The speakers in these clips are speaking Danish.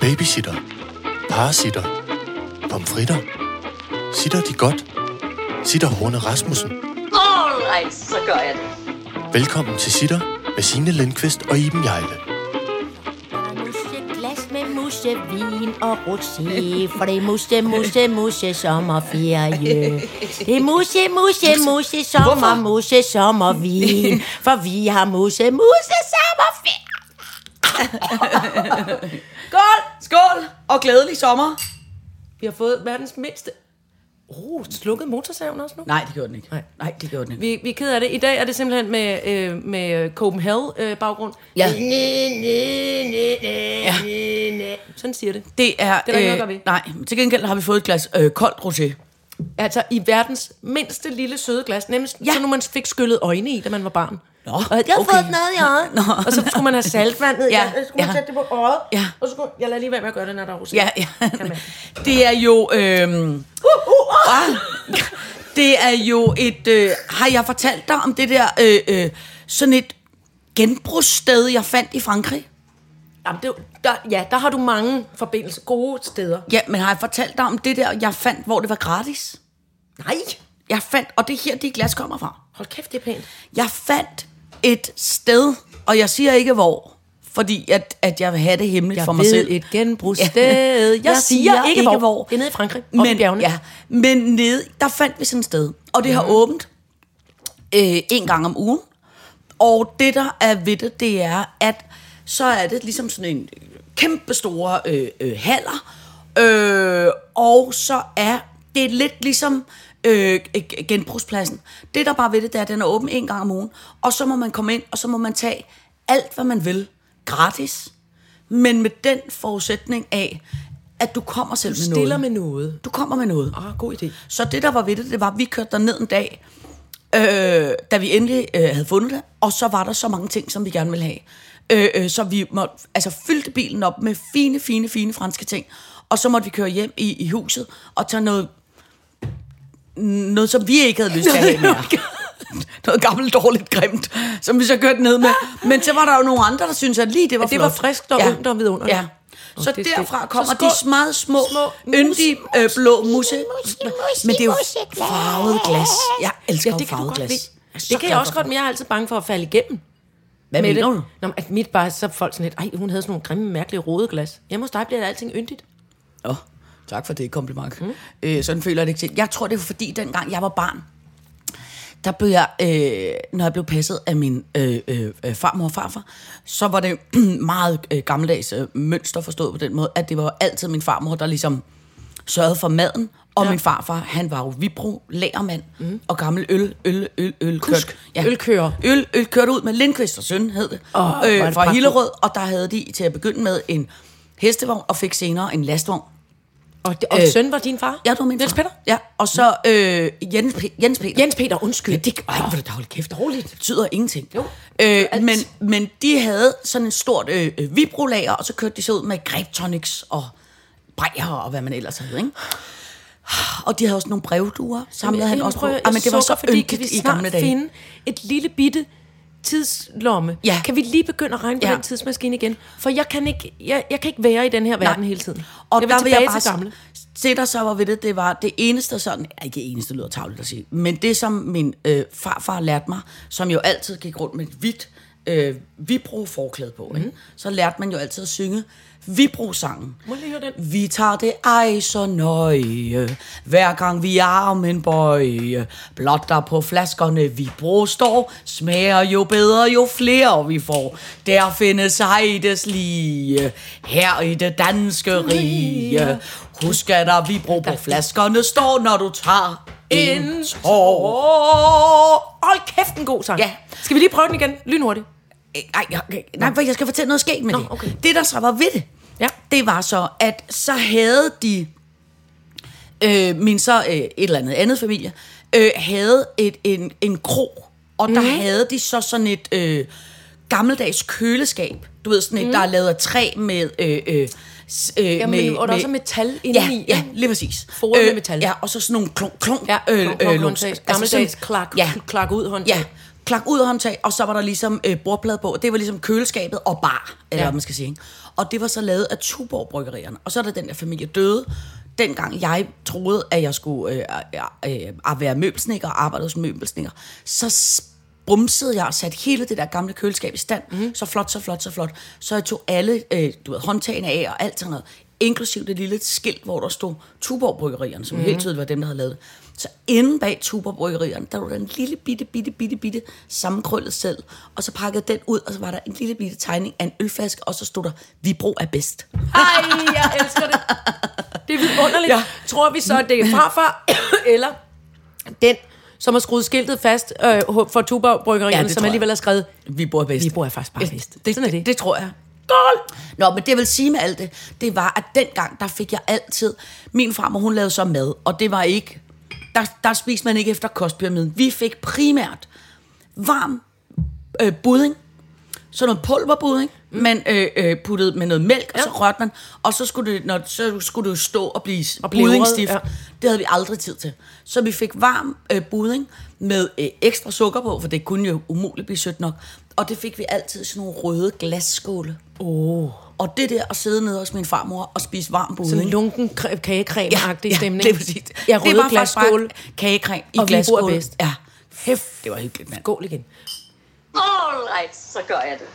Babysitter. Parasitter. Pomfritter. Sitter de godt? Sitter Horne Rasmussen. Alright, så gør jeg det. Velkommen til Sitter med Signe Lindqvist og Iben Jejle. Museglas med musevin og rosé, for det er muse, muse, muse sommerferie. Det er muse, muse, muse sommer, muse sommervin, for vi har muse, muse sommerferie. Skål! Skål! Og glædelig sommer. Vi har fået verdens mindste... Oh, slukket motorsaven også nu? Nej, det gjorde den ikke. Nej, Nej det gjorde den ikke. Vi, vi er ked af det. I dag er det simpelthen med, øh, med øh, Copenhagen-baggrund. Ja. Sådan siger det. Det er... øh, Det er der ikke noget at gøre ved. nej, men til gengæld har vi fået et glas øh, koldt rosé. Altså i verdens mindste lille søde glas. Nemlig ja. sådan, når man fik skyllet øjne i, da man var barn. Nå, og jeg har okay. fået noget i øjet. Nå. Og så skulle man have saltvandet. Ja, ja. Jeg skulle ja. man sætte det på øjet. Ja. Og så skulle, jeg lader lige være med at gøre det, når der er rosé. Ja, ja. Det er jo... Øh, Uh, uh, uh. Ah, det er jo et... Øh, har jeg fortalt dig om det der... Øh, øh, sådan et genbrugssted, jeg fandt i Frankrig? Jamen, det, er jo- der, ja, der har du mange forbindelser. Gode steder. Ja, men har jeg fortalt dig om det der, jeg fandt, hvor det var gratis? Nej. Jeg fandt... Og det er her, de glas kommer fra. Hold kæft, det er pænt. Jeg fandt et sted, og jeg siger ikke hvor, fordi at, at jeg vil have det hemmeligt Jeg for mig ved selv. et genbrugssted. Jeg siger ikke hvor. Det er nede i Frankrig, oppe i bjergene. Ja, men nede, der fandt vi sådan et sted, og det har Mhm. åbent øh, en gang om ugen. Og det, der er ved det, det er, at så er det ligesom sådan en kæmpe store øh, øh, haller, øh, og så er det lidt ligesom øh, g- genbrugspladsen. Det, der bare ved det, det er, at den er åben en gang om ugen, og så må man komme ind, og så må man tage alt, hvad man vil, gratis, men med den forudsætning af, at du kommer selv Du med stiller noget. med noget. Du kommer med noget. Åh, oh, god idé. Så det, der var ved det, det var, at vi kørte ned en dag, øh, da vi endelig øh, havde fundet det, og så var der så mange ting, som vi gerne ville have. Øh, øh, så vi må, altså, fyldte bilen op med fine, fine, fine franske ting, og så måtte vi køre hjem i, i huset og tage noget, noget, som vi ikke havde lyst til at have mere. Noget gammelt, dårligt, grimt, som vi så kørte ned med. Men så var der jo nogle andre, der syntes, at lige det var At det var flot. friskt og ungt og vidunderligt. Ja. Så det er derfra skægt. kommer Så skål. de meget små, Små små yndige øh, blå musse. Men det er jo farvet glas. Jeg elsker Ja, jo det kan du farvet godt glas. lide. Jeg er så Det kan glad jeg også for godt, men jeg er altid bange for at falde igennem. Hvad med mener det. du? Nå, men at mit bare, så er folk sådan lidt, ej, hun havde sådan nogle grimme, mærkelige røde glas. Hjemme hos dig bliver det alting yndigt. Åh, tak for det kompliment. Mm. Øh, sådan føler jeg det ikke til. Jeg tror, det var fordi, dengang jeg var barn, der blev jeg, øh, når jeg blev passet af min øh, øh, øh, farmor og farfar, så var det meget øh, gammeldags øh, mønster forstået på den måde, at det var altid min farmor, der ligesom sørgede for maden, og ja. min farfar, han var jo vibro, lagermand mm. og gammel øl, øl, øl, øl, Kusk. Ølkører. Øl, øl kørte ud med Lindqvist og Søn, hed det, Åh, hvor oh, er det øh, fra pragtfuldt. Hillerød, og der havde de til at begynde med en hestevogn, og fik senere en lastvogn. Og, det, og Øh, øh, søn var din far? Ja, du var min Niels far. Peter? Ja, og så øh, Jens, Pe- Jens Peter. Jens Peter, undskyld. Ja, det, ej, hvor er det da, hold kæft, roligt. Det betyder ingenting. Jo, øh, alt. men, men de havde sådan en stort øh, øh, vibrolager, og så kørte de så ud med grape tonics og brejer og hvad man ellers havde, ikke? Og de havde også nogle brevduer, samlede han også Ah, på. Ja, men det var så fordi, kan vi yndigt i snart gamle dage. finde et lille bitte tidslomme? Ja. Kan vi lige begynde at regne på Ja. den tidsmaskine igen? For jeg kan ikke, jeg, jeg kan ikke være i den her verden hele tiden. Og jeg der vil jeg bare til gamle. Det, der så var ved det, det var det eneste sådan... ja, Ikke eneste lyder tavligt at sige, men det, som min øh, farfar lærte mig, som jo altid gik rundt med et hvidt øh, vibro-forklæde på, mm. ikke? så lærte man jo altid at synge vibro-sangen. Mhm. Må jeg lige høre den? Vi tager det ej så nøje, hver gang vi armen bøje. Blot der på flaskerne vi brug står, smager jo bedre, jo flere vi får. Der findes ej des lige, her i det danske rige. Husk at der vi brug på flaskerne står, når du tager en tår. Åh, hold kæft, en god sang. Ja. Skal vi lige prøve den igen? Lynhurtigt. Øh, Ej, jeg, nej, for jeg skal fortælle noget skægt med Nå, det. okay. Det, der så var ved det, Ja. det var så, at så havde de, øh, min så øh, et eller andet andet familie, øh, havde et, en, en kro, og der Mhm. havde de så sådan et øh, gammeldags køleskab. Du ved, sådan et, mm. der er lavet af træ med... Øh, øh, s- øh, Jamen, Mhm. men- og der er også metal inde ja, øh, i, Ja, ikke? lige præcis. Øh, Foret med metal. Ja, og så sådan nogle klunk, klunk, Ja, øh, klunk, klunk, øh, håndtag. altså Gammeldags sådan- klak- ja. klak ud håndtag. Ja, klak ud håndtag, og så var der ligesom øh, bordplade på. Det var ligesom køleskabet og bar, eller Ja. hvad man skal sige. ikke? Og det var så lavet af Tuborg Bryggerierne. Og så er der den der familie døde. Dengang jeg troede, at jeg skulle øh, øh, øh, at være møbelsnikker og arbejde som møbelsnikker, så brumsede jeg og satte hele det der gamle køleskab i stand. Mm. Så flot, så flot, så flot. Så jeg tog alle øh, du ved, håndtagene af og alt sådan noget. Inklusiv det lille skilt, hvor der stod Tuborg Bryggerierne, som mm. helt tydeligt var dem, der havde lavet det. Så inde bag Tuborg Bryggerierne, der var der en lille bitte, bitte, bitte, bitte sammenkrøllet selv. Og så pakkede den ud, og så var der en lille bitte tegning af en ølflaske, og så stod der, Vibro er bedst. Ej, jeg elsker det. Det er vidunderligt. Ja. Tror vi så, at det er farfar, eller den, som har skruet skiltet fast øh, for Tuborg Ja, Bryggerierne, det ja, som tror alligevel jeg. har skrevet, Vibro er bedst. vi bor faktisk bare bedst. Det, Sådan er det. det. det tror jeg. Skål! Nå, men det jeg vil sige med alt det, det var, at dengang, der fik jeg altid... Min farmor, hun lavede så mad, og det var ikke... Der, der spiste man ikke efter kostpyramiden. Vi fik primært varm øh, budding, sådan noget pulverbudding, mm. man øh, øh, puttede med noget mælk, ja. og så rørte man, og så skulle det, når, så skulle det jo stå og blive og blive buddingstift. Ja. rød, Det havde vi aldrig tid til. Så vi fik varm øh, budding med øh, ekstra sukker på, for det kunne jo umuligt blive sødt nok. Og det fik vi altid i sådan nogle røde glasskåle. Oh. Og det der at sidde nede hos min farmor og spise varm Sådan budding. en lunken kre- kagecreme-agtig stemning. det er præcis. Ja, det røde var faktisk bare glasskål. kagecreme i Og vi bor glasskål. bedst. Ja. Hæft, det var hyggeligt, mand. Skål igen. All right, så gør jeg det.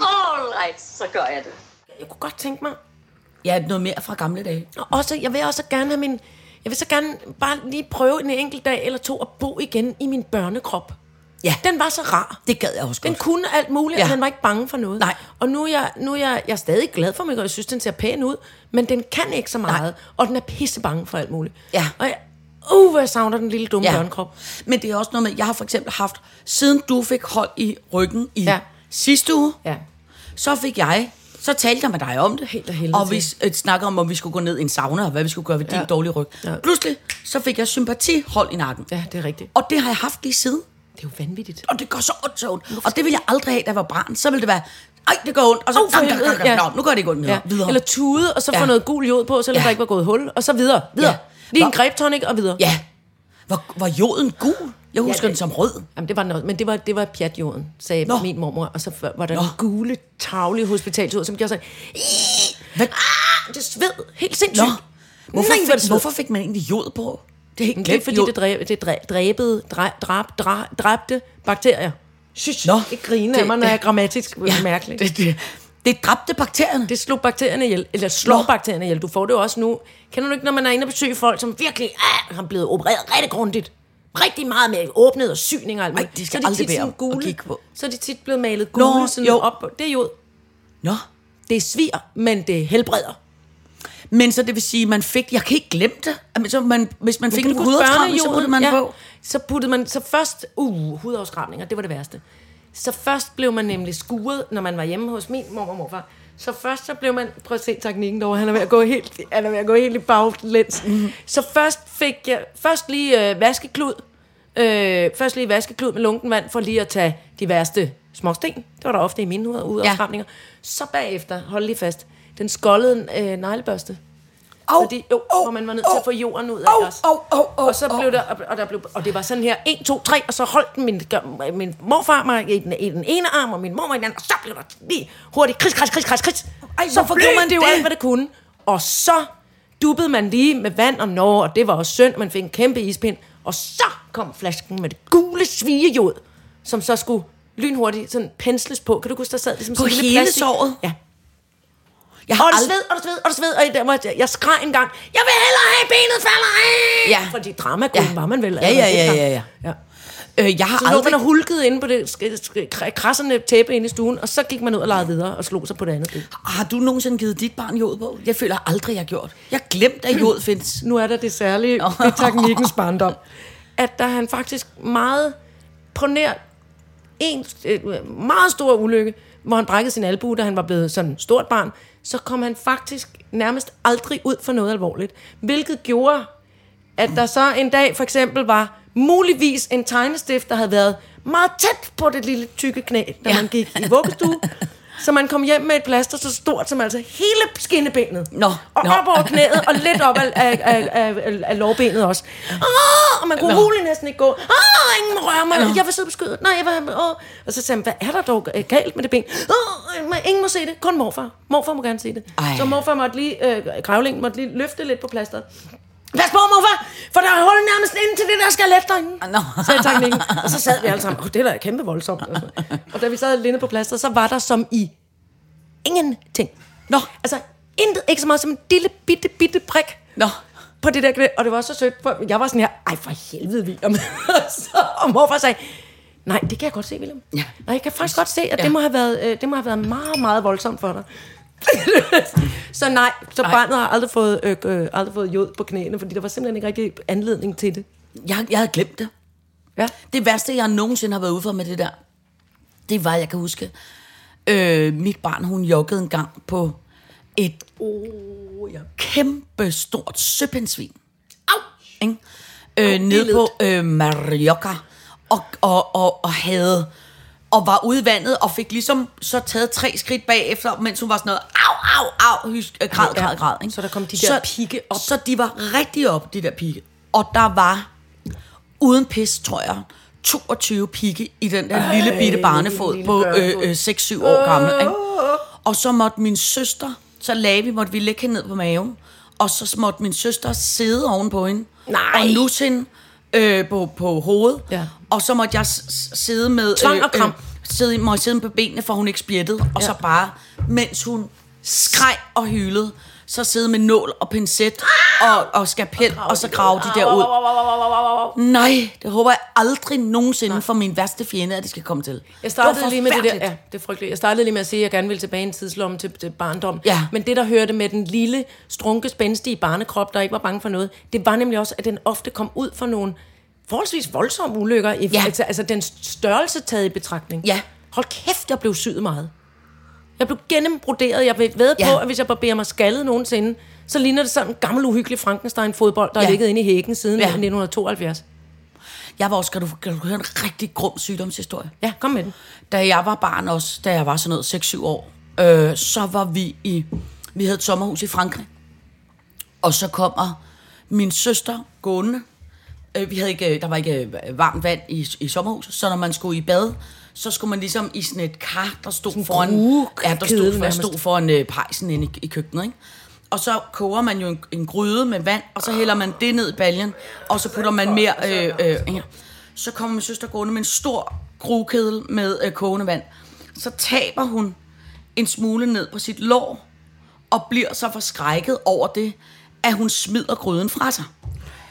All right, så gør jeg det. Jeg kunne godt tænke mig, Ja, noget mere fra gamle dage. og også, jeg vil også gerne have min... Jeg vil så gerne bare lige prøve en enkelt dag eller to at bo igen i min børnekrop. Ja. Den var så rar. Det gad jeg også Den godt. kunne alt muligt, ja. Ja. og den var ikke bange for noget. Nej. Og nu er, jeg, nu er jeg, jeg er stadig glad for mig, og jeg synes, den ser pæn ud, men den kan ikke så meget, Nej. og den er pisse bange for alt muligt. Ja. Og jeg, uh, hvor jeg savner den lille dumme ja. børnekrop. Men det er også noget med, jeg har for eksempel haft, siden du fik hold i ryggen i ja. Ja. sidste uge, Ja. så fik jeg, så talte jeg med dig om det. Helt af helvede Og vi øh, snakkede om, om vi skulle gå ned i en sauna, og hvad vi skulle gøre ved ja. din dårlige ryg. Ja. Ja. Pludselig, så fik jeg sympatihold i nakken. Ja, det er rigtigt. Og det har jeg haft lige siden. Det er jo vanvittigt. Og det gør så ondt, så ondt. Og det ville jeg aldrig have, da jeg var barn. Så ville det være, ej, det gør ondt. Og så, Åh, for "Nå, nå, helvede." nå, nå, Ja. nå, nu gør det ikke ondt mere. Ja. Videre. Eller tude, og så få Ja. noget gul jod på, selvom Ja. ja. der ikke var gået hul, og så videre. videre. Ja. Ja. Lige en Nå. grebtonic og videre. ja. Var, var joden gul? Jeg husker ja, det- den som rød. Jamen, det var noget, men det var, det var pjatjorden, sagde Nå. Nå. min mormor. Og så f- var der Nå. en gule, tavlige hospitalsjord, som gjorde sådan... Hvad? Ah, det sved helt sindssygt. Nå. Nå. Hvorfor, Nej, hvor fik, det hvorfor fik man egentlig jod på? Det er helt Det er glemt. fordi, jod. det, dræb, det dræ, dræbede, dræ, drab, dræ, dræbte bakterier. Shh, Nå. det griner Det- af mig, når jeg er grammatisk ja, mærkeligt. Det, det, det dræbte bakterierne. Det slog bakterierne ihjel, eller slår Nå. Nå. bakterierne ihjel. Du får det jo også nu. Kender du ikke, når man er inde og besøge folk, som virkelig ah, har blevet opereret rigtig grundigt? Rigtig meget med åbnet og syning og alt muligt. Ej, de skal så er aldrig tit bede sådan om at kigge på. Så er de tit blevet malet gule Nå, Nå, sådan jo. jo. op. på- Det er jo, Nå. det er svir, men det helbreder. Men så det vil sige, man fik... Jeg kan ikke glemme det. Men så man, hvis man fik Kan en du huske hudafkram, så børnejoden? puttede man ja. på. Så puttede man, så først, uh, hudafskrabninger, det var det værste. Så først blev man nemlig skuret, når man var hjemme hos min mor og morfar. Så først så blev man, prøv at se teknikken derovre, han er ved at gå helt, han er ved at gå helt i baglæns. Mhm. Mm. Så først fik jeg, først lige øh, vaskeklud, øh, først lige vaskeklud med lunken vand, for lige at tage de værste småsten. Det var der ofte i mine hud- hudafskrabninger. Ja. Så bagefter, hold lige fast, den skoldede øh, neglebørste. Au, Oh, fordi, jo, au, oh, hvor man var nødt til au, at få jorden ud af au, os. au, au, au, og så au. blev der, og- og, der blev, og det var sådan her, 1, 2, 3, og så holdt min, gør- min morfar mig i den, i den ene arm, og min mor i den anden, og så blev der lige hurtigt, kris, kris, kris, kris, kris. Ej, så hvor forgjorde blev man det jo det? alt, hvad det kunne. Og så duppede man lige med vand og når, og det var også synd, man fik en kæmpe ispind. Og så kom flasken med det gule svigejod, som så skulle lynhurtigt sådan pensles på. Kan du huske, der sad ligesom På sådan en lille hele plastik- såret? Ja, Jeg og har det aldrig... sved, og det sved, og det sved, og jeg, der var- jeg, jeg skreg en gang, jeg vil hellere have benet falder af! Ja. Fordi drama ja. var man vel. Ja, ja, ja, dengang. ja, ja. ja. Øh, jeg har Så lå aldrig... man og hulkede inde på det sk- sk- kra- krassende tæppe inde i stuen, og så gik man ud og legede videre og slog sig på det andet ben. Har du nogensinde givet dit barn jod på? Jeg føler aldrig, jeg har gjort. Jeg har glemt, at jod findes. Nu er der det særlige ved teknikkens barndom, at der han faktisk meget på nær en øh, meget stor ulykke, hvor han brækkede sin albue, da han var blevet sådan et stort barn, så kom han faktisk nærmest aldrig ud for noget alvorligt. Hvilket gjorde, at der så en dag for eksempel var muligvis en tegnestift, der havde været meget tæt på det lille tykke knæ, da ja. man gik i vuggestue. Så man kom hjem med et plaster så stort som altså hele skinnebenet. Nå, Og nå. op over knæet, og lidt op af, af, af, af, af, af lårbenet også. Åh, og man kunne roligt næsten ikke gå. Åh, ingen må røre mig. Jeg vil sidde på skødet. Nej, jeg vil... Åh. Og så sagde han, hvad er der dog øh, galt med det ben? Åh, men ingen må se det. Kun morfar. Morfar må gerne se det. Ej. Så morfar måtte lige... Øh, grævlingen måtte lige løfte lidt på plasteret. Pas på, morfar, for der er hul nærmest ind til det der skelet derinde. Nå. Sagde teknikken. Og så sad vi alle sammen, oh, det er da kæmpe voldsomt. Altså. Og da vi sad alene på plasteret, så var der som i ingenting. Nå. Altså, intet, ikke så meget som en lille, bitte, bitte prik Nå. på det der knæ. Og det var så sødt. For jeg var sådan her, ej for helvede, William. så, og morfar sagde, nej, det kan jeg godt se, William. Ja. Og jeg kan faktisk godt se, at ja. Ja. det, må have været, øh, det må have været meget, meget voldsomt for dig. så nej, så Ej. barnet har aldrig fået, øh, øh, aldrig fået jod på knæene, fordi der var simpelthen ikke rigtig anledning til det. Jeg, jeg havde glemt det. Ja. Det værste, jeg nogensinde har været ude for med det der, det var, jeg kan huske, øh, mit barn, hun joggede en gang på et oh, ja. kæmpe stort søpindsvin. Au! Ikke? Øh, nede på øh, Mallorca. Og, og, og, og havde og var ude i vandet og fik ligesom så taget tre skridt bagefter, mens hun var sådan noget, au, au, au, hysk, øh, græd, græd, græd. Ikke? Så der kom de der pigge op. Så de var rigtig op, de der pigge. Og der var uden pis, tror jeg, 22 pigge i den der Ej, lille bitte barnefod lille på øh, børnefod. øh, 6-7 år gammel. Ikke? Og så måtte min søster, så lagde vi, måtte vi lægge hende ned på maven, og så måtte min søster sidde ovenpå hende, Nej. og nusse hende øh, på, på hovedet, Ja. og så måtte jeg s- s- sidde med... øh, Tvang og kram. sidde, måtte sidde på benene, for hun ikke spjættede, og Ja. så bare, mens hun skreg og hylede, så sidde med nål og pincet Ah! og, og skapel, og, og så grave de der ud. Nej, det håber jeg aldrig nogensinde Nej. for min værste fjende, at det skal komme til. Jeg startede Det var lige med det der, forfærdeligt. ja, det er frygteligt. Jeg startede lige med at sige, at jeg gerne ville tilbage i en tidslomme til, til barndom. Ja. Men det, der hørte med den lille, strunke, spændstige barnekrop, der ikke var bange for noget, det var nemlig også, at den ofte kom ud for nogle forholdsvis voldsomme ulykker. I, Ja. altså, altså den størrelse taget i betragtning. Ja. Hold kæft, jeg blev syet meget. Jeg blev gennembruderet. Jeg ved ja. Ja. på, at hvis jeg barberer mig skaldet nogensinde, så ligner det sådan en gammel, uhyggelig Frankenstein-fodbold, der ja. Ja. har ligget inde i hækken siden ja. Ja. 1972. Jeg var også, kan du, kan du høre en rigtig grum sygdomshistorie? Ja, kom med den. Da jeg var barn også, da jeg var sådan noget 6-7 år, øh, så var vi i, vi havde et sommerhus i Frankrig. Og så kommer min søster gående. Øh, vi havde ikke, øh, der var ikke øh, varmt vand i, i sommerhuset, så når man skulle i bad, så skulle man ligesom i sådan et kar, der stod foran, gruekedel ja, der stod, der nærmest. stod foran øh, pejsen inde i, i køkkenet, ikke? Og så koger man jo en, en gryde med vand, og så hælder man det ned i baljen, og så putter man mere... Øh, øh, ja. Så kommer min søster gående med en stor gruekedel med øh, kogende vand. Så taber hun en smule ned på sit lår, og bliver så forskrækket over det, at hun smider gryden fra sig.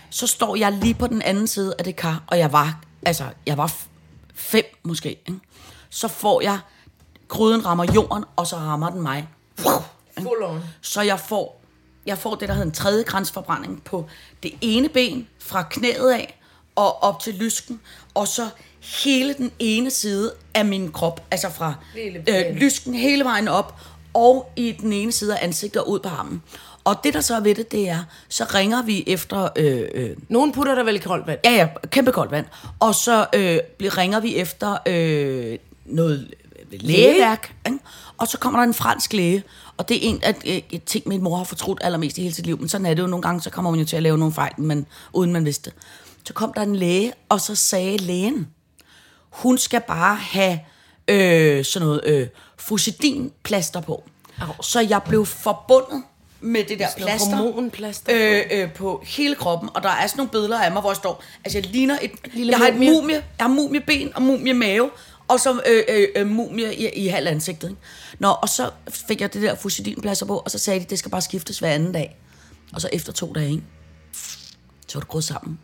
Så står jeg lige på den anden side af det kar, og jeg var, altså, jeg var f- fem måske, ikke? Så får jeg, gryden rammer jorden, og så rammer den mig. Full on. Så jeg får, jeg får det, der hedder en tredje grænsforbrænding på det ene ben fra knæet af og op til lysken, og så hele den ene side af min krop, altså fra øh, lysken hele vejen op, og i den ene side af ansigtet og ud på armen. Og det, der så er ved det, det er, så ringer vi efter øh, Nogen putter der vel i koldt vand. Ja, ja, kæmpe koldt vand. Og så øh, bliver- ringer vi efter øh, noget lægeværk, ikke? og så kommer der en fransk læge, og det er en af øh, et ting, min mor har fortrudt allermest i hele sit liv, men sådan er det jo nogle gange, så kommer man jo til at lave nogle fejl, men, uden man vidste. Så kom der en læge, og så sagde lægen, hun skal bare have øh, sådan noget øh, fusidinplaster på. Au. Så jeg blev forbundet med det der noget plaster hormonplaster. øh, øh, på hele kroppen, og der er sådan nogle billeder af mig, hvor jeg står, altså jeg ligner et, Lille Lille jeg har et mumie. mumie, jeg har mumieben og mumiemave, og så øh, øh, øh, mumie i, i halv ansigtet, ikke? Nå, og så fik jeg det der fusidinplaster på, og så sagde de, det skal bare skiftes hver anden dag. Og så efter to dage, ikke? så var det gået sammen.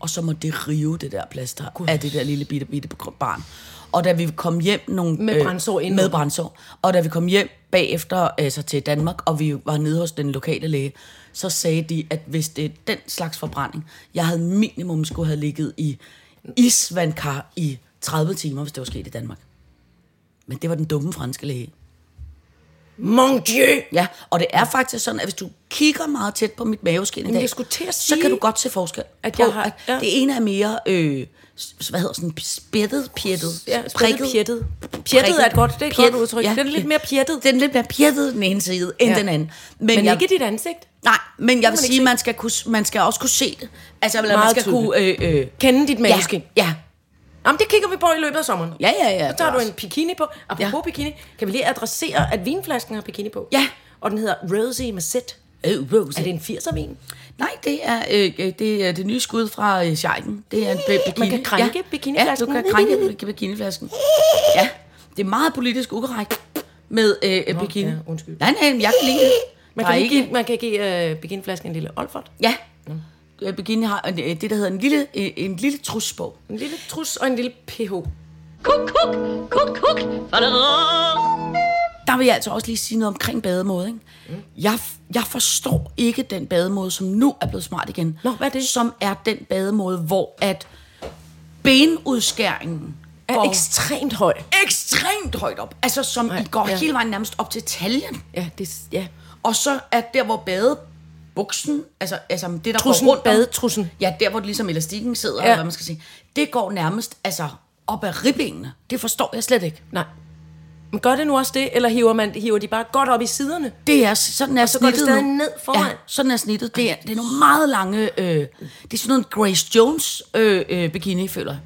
Og så måtte det rive det der plaster God. af det der lille bitte, bitte barn. Og da vi kom hjem nogle... Med brandsår Øh, indenunder. Med brandsår. Og da vi kom hjem bagefter altså til Danmark, og vi var nede hos den lokale læge, så sagde de, at hvis det er den slags forbrænding, jeg havde minimum skulle have ligget i isvandkar i 30 timer, hvis det var sket i Danmark. Men det var den dumme franske læge. Mon dieu! Ja, og det er faktisk sådan, at hvis du kigger meget tæt på mit maveskin i dag, jeg skulle til at så sige, kan du godt se forskel. at på, jeg har- at ja. Det ene er mere, øh, s- hvad hedder sådan, spættet, pjettet, Ja, prikket. Pjettet. Pjettet er et godt, det er et godt udtryk. Den er lidt mere pjettet. Den er lidt mere pjettet den ene side, end Ja. den anden. Men, men jeg- ikke dit ansigt. Nej, men jeg vil man ikke sige, se. man skal, kunne, s- man skal også kunne se det. Altså, eller man Meget skal kunne... Øh, øh, Kende dit ja, maveskin. ja, Jamen, det kigger vi på i løbet af sommeren. ja, ja, ja. Så tager du også. en bikini på. Apropos ja. bikini, kan vi lige adressere, at vinflasken har bikini på? Ja. Og den hedder Rosie Mazet. Øh, Rose. Er det en 80'er vin? Nej, det er, øh, øh, det er det nye skud fra øh, Scheiken. Det er en bi- bikini. kan krænke bikiniflasken. Ja, du kan krænke bi- bikiniflasken. Ja, det er meget politisk ukorrekt med øh, øh, bikini. ja, undskyld. Nej, nej, men jeg kan lide det. Man Der kan, er ikke. Give, man kan give øh, bikiniflasken en lille olfert. Ja, Øh, bikini har en, øh, det, der hedder en lille, øh, en lille trusbog. En lille trus og en lille pH. Kuk, kuk, kuk, kuk. Der vil jeg altså også lige sige noget omkring bademode. Ikke? Mm. Jeg, jeg forstår ikke den bademode, som nu er blevet smart igen. Nå, hvad er det? Som er den bademode, hvor at benudskæringen Er går ekstremt høj. ekstremt højt op. Altså, som Nej, I går ja. ja. hele vejen nærmest op til taljen. Ja, det, s- ja. Og så er der, hvor badebuksen, altså, altså det, der Trussen, går rundt om- badetrussen. Ja, der, hvor det ligesom elastikken sidder, Ja. ja. eller hvad man skal sige. Det går nærmest altså, op ad ribbenene. Det forstår jeg slet ikke. Nej. Men gør det nu også det, eller hiver, man, hiver de bare godt op i siderne? Det er sådan er så går det snittet nu. stadig ned foran. Ja, sådan er snittet. Det er, det er nogle meget lange... Øh, det er sådan noget Grace Jones øh, øh, bikini, føler jeg.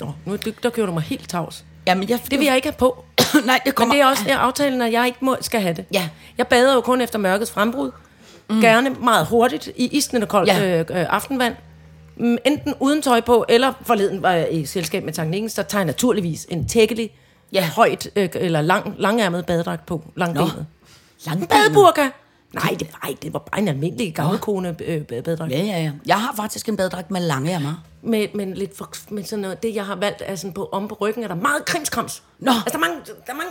Nå, nu du, der kører du mig helt tavs. Jamen, jeg, Det vil jeg ikke have på. Nej, det Men kommer... det er også det er aftalen, at jeg ikke må, skal have det. Ja. Jeg bader jo kun efter mørkets frembrud. Mm. Gerne meget hurtigt i isnende og koldt ja. Ja. øh, øh, aftenvand. Mm, Enten uden tøj på, eller forleden var jeg i selskab med Tanken så tager jeg naturligvis en tækkelig, ja. Ja. højt øh, eller lang, langærmet badedragt på. Langbenet. Langbenet. Badeburka! Nej, det, nej, det var bare en almindelig gavlkone øh, badedragt. Ja, ja, ja. Jeg har faktisk en badedragt med lange ærmer. Men, men lidt for, men sådan noget, det jeg har valgt er sådan på, om på ryggen, er der meget krimskrams. Nå. Altså der er mange, der er mange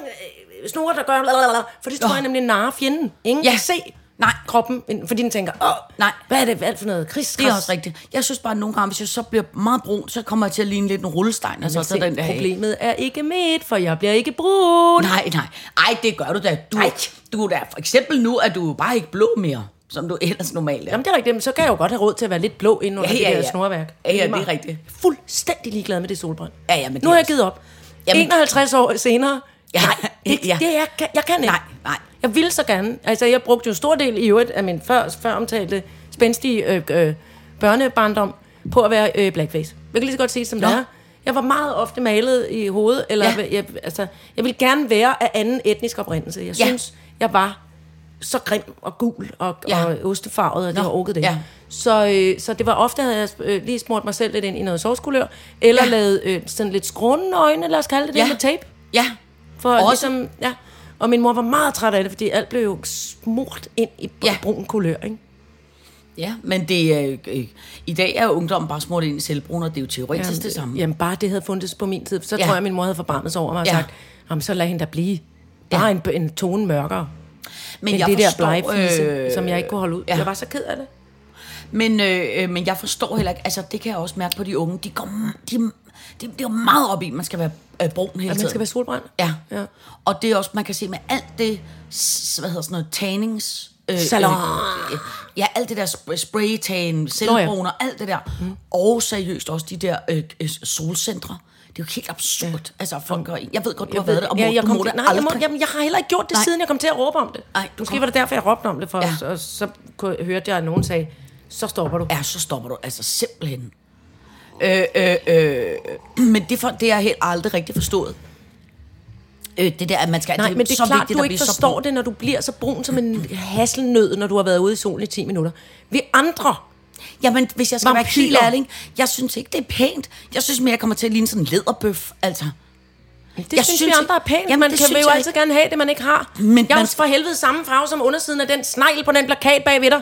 øh, snore, der gør, blablabla, for det tror Nå. jeg nemlig narrer fjenden. Ingen Ja. kan se Nej. kroppen, men- fordi den tænker, åh, Nej. hvad er det alt for noget krigskrams? Det er også rigtigt. Jeg synes bare, at nogle gange, hvis jeg så bliver meget brun, så kommer jeg til at ligne lidt en rullestein. Altså, så Så den der, problemet er ikke mit, for jeg bliver ikke brudt. Nej, nej. Ej, det gør du da. Du, Ej. du er da for eksempel nu, at du bare ikke blå mere, som du ellers normalt er. Jamen det er rigtigt, men så kan jeg jo godt have råd til at være lidt blå ind under Ja, det ja, der ja. snorværk. Ja, ja, lige det er meget. rigtigt. Fuldstændig ligeglad med det solbrænd. Ja, ja, men det nu er altså- har jeg også- givet op. Jamen- 51 år senere. Ja, nej, det, ja. det er, jeg, kan, jeg kan ikke. Nej, nej. Jeg ville så gerne. Altså, jeg brugte jo en stor del i øvrigt af min før, før omtalte spændstige øh, øh, børnebarndom på at være øh, blackface. Jeg kan lige så godt sige, som det Nå. er. Jeg var meget ofte malet i hovedet, eller ja. Ja. jeg, altså, jeg ville gerne være af anden etnisk oprindelse. Jeg Ja. synes, jeg var så grim og gul og, ja. Ja. og ostefarvet, at jeg Nå, orkede det. ja. Så, øh, så det var ofte, at jeg øh, lige smurt mig selv lidt ind i noget sovskulør, eller ja. Ja. lavet øh, sådan lidt skrånende øjne, lad os kalde det ja. Ja. det, med tape. Ja. For Også. ligesom, ja. Og min mor var meget træt af det, fordi alt blev jo smurt ind i br- ja. Ja. brun kulør, ikke? Ja, men det er, øh, i dag er jo ungdommen bare smurt ind i selvbrun, og det er jo teoretisk jamen, det samme. Jamen, bare det havde fundet på min tid, så ja. Ja. tror jeg, at min mor havde forbarmet sig over mig og ja. Ja. sagt, jamen, så lad hende da blive. Bare ja. en, en tone mørkere. Men Men jeg det der forstår, blege fise, øh, som jeg ikke kunne holde ud. Ja. ja. Jeg var så ked af det. Men, øh, øh, men jeg forstår heller ikke, altså det kan jeg også mærke på de unge, de går, m- de, de, de går meget op i, at man skal være øh, brun hele tiden. At man skal være solbrændt. Ja. Ja. ja. Og det er også, man kan se med alt det, s- hvad hedder sådan noget, tannings... Øh, Salon. Øh, ja, alt det der sp- spraytan, selvbruner, ja. alt det der. Mm. Og seriøst også de der øh, øh, solcentre. Det er jo helt absurd. Ja. Altså, folk går, jeg ved godt, du jeg har været der, og ja, jeg du kom, må da nej, jeg, aldrig. må, jamen, jeg har heller ikke gjort det, Nej. siden jeg kom til at råbe om det. Ej, du Måske kom- var det derfor, jeg råbte om det, for Ja. ja. og så kunne, hørte jeg, at nogen sagde, så stopper du. Ja, så stopper du altså simpelthen. Øh, øh, øh. Men det, for, det har jeg helt aldrig rigtig forstået. Øh, det der, at man skal... Nej, men det er så klart, vigtigt du at ikke blive så forstår brun. det, når du bliver så brun som en hasselnød, når du har været ude i solen i 10 minutter. Vi andre, Jamen, hvis jeg skal Vampyrer. være helt Vampyrer. ærlig, ikke? jeg synes ikke, det er pænt. Jeg synes mere, jeg kommer til at ligne sådan en lederbøf, altså. det jeg synes, synes vi andre er pænt. Jamen, Jamen, man det kan synes jo jeg altid gerne have det, man ikke har. Men jeg er man- også for helvede samme farve som undersiden af den snegl på den plakat bagved dig.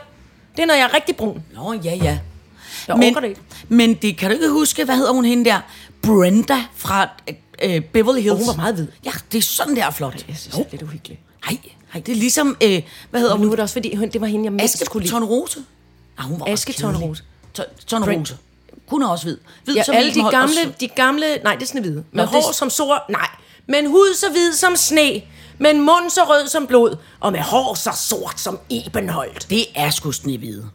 Det er, når jeg er rigtig brun. Nå, ja, ja. Jeg men, orker det ikke. Men det kan du ikke huske, hvad hedder hun hende der? Brenda fra øh, Beverly Hills. Og hun var meget hvid. Ja, det er sådan, der er flot. Nej, Jeg synes, det er lidt uhyggeligt. Nej, det er ligesom, øh, hvad hedder Og nu hun? er det også, fordi hun- det var hende, jeg mest Aske skulle lide. Tornerose? Nej, hun var også Aske kedelig. Tornerose. To- Tornerose. Hun er også hvid. hvid Ja, som alle Iben de Holm gamle, også. de gamle, nej, det er snehvide. Nå, Med hår det- som sort, nej. Men hud så hvid som sne, men mund så rød som blod, og med hår så sort som ebenholdt. Det er sgu snehvide.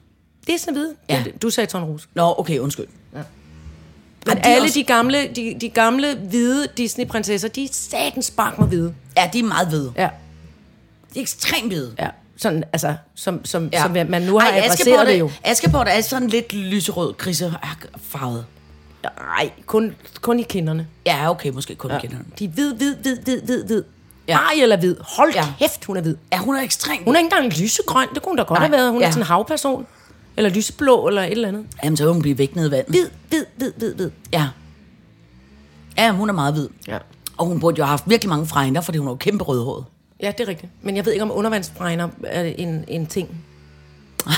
Det er sådan hvide. Ja. Du sagde Torn Rose. Nå, okay, undskyld. Men de er alle også- de gamle, de, de gamle hvide Disney-prinsesser, de er satens bank med hvide. Ja, de er meget hvide. Ja. De er ekstremt hvide. ja. Sådan, altså, som, som, Ja. ja. som man nu har Ej, Ej, Askepot adresseret det jo. er- Askepot er sådan lidt lyserød ah, krisefarvet. Nej, kun, kun i kinderne. Ja, okay, måske kun ja. kender den. De er hvid, hvid, hvid, hvid, hvid, hvid. Ja. Ja. Ariel er hvid. Hold Ja. ja. kæft, hun er hvid. Ja, hun er ekstremt. Hun er ikke engang lysegrøn. Det kunne hun da godt Nej, have været. Hun ja. er sådan en havperson. Eller lyseblå, eller et eller andet. Jamen, så vil hun blive væk ned i vandet. Hvid, hvid, hvid, hvid, hvid. Ja. Ja, hun er meget hvid. Ja. Og hun burde jo have haft virkelig mange fregner, fordi hun er jo kæmpe rødhåret. Ja, det er rigtigt. Men jeg ved ikke, om undervandsbregner er en, en ting. Nej.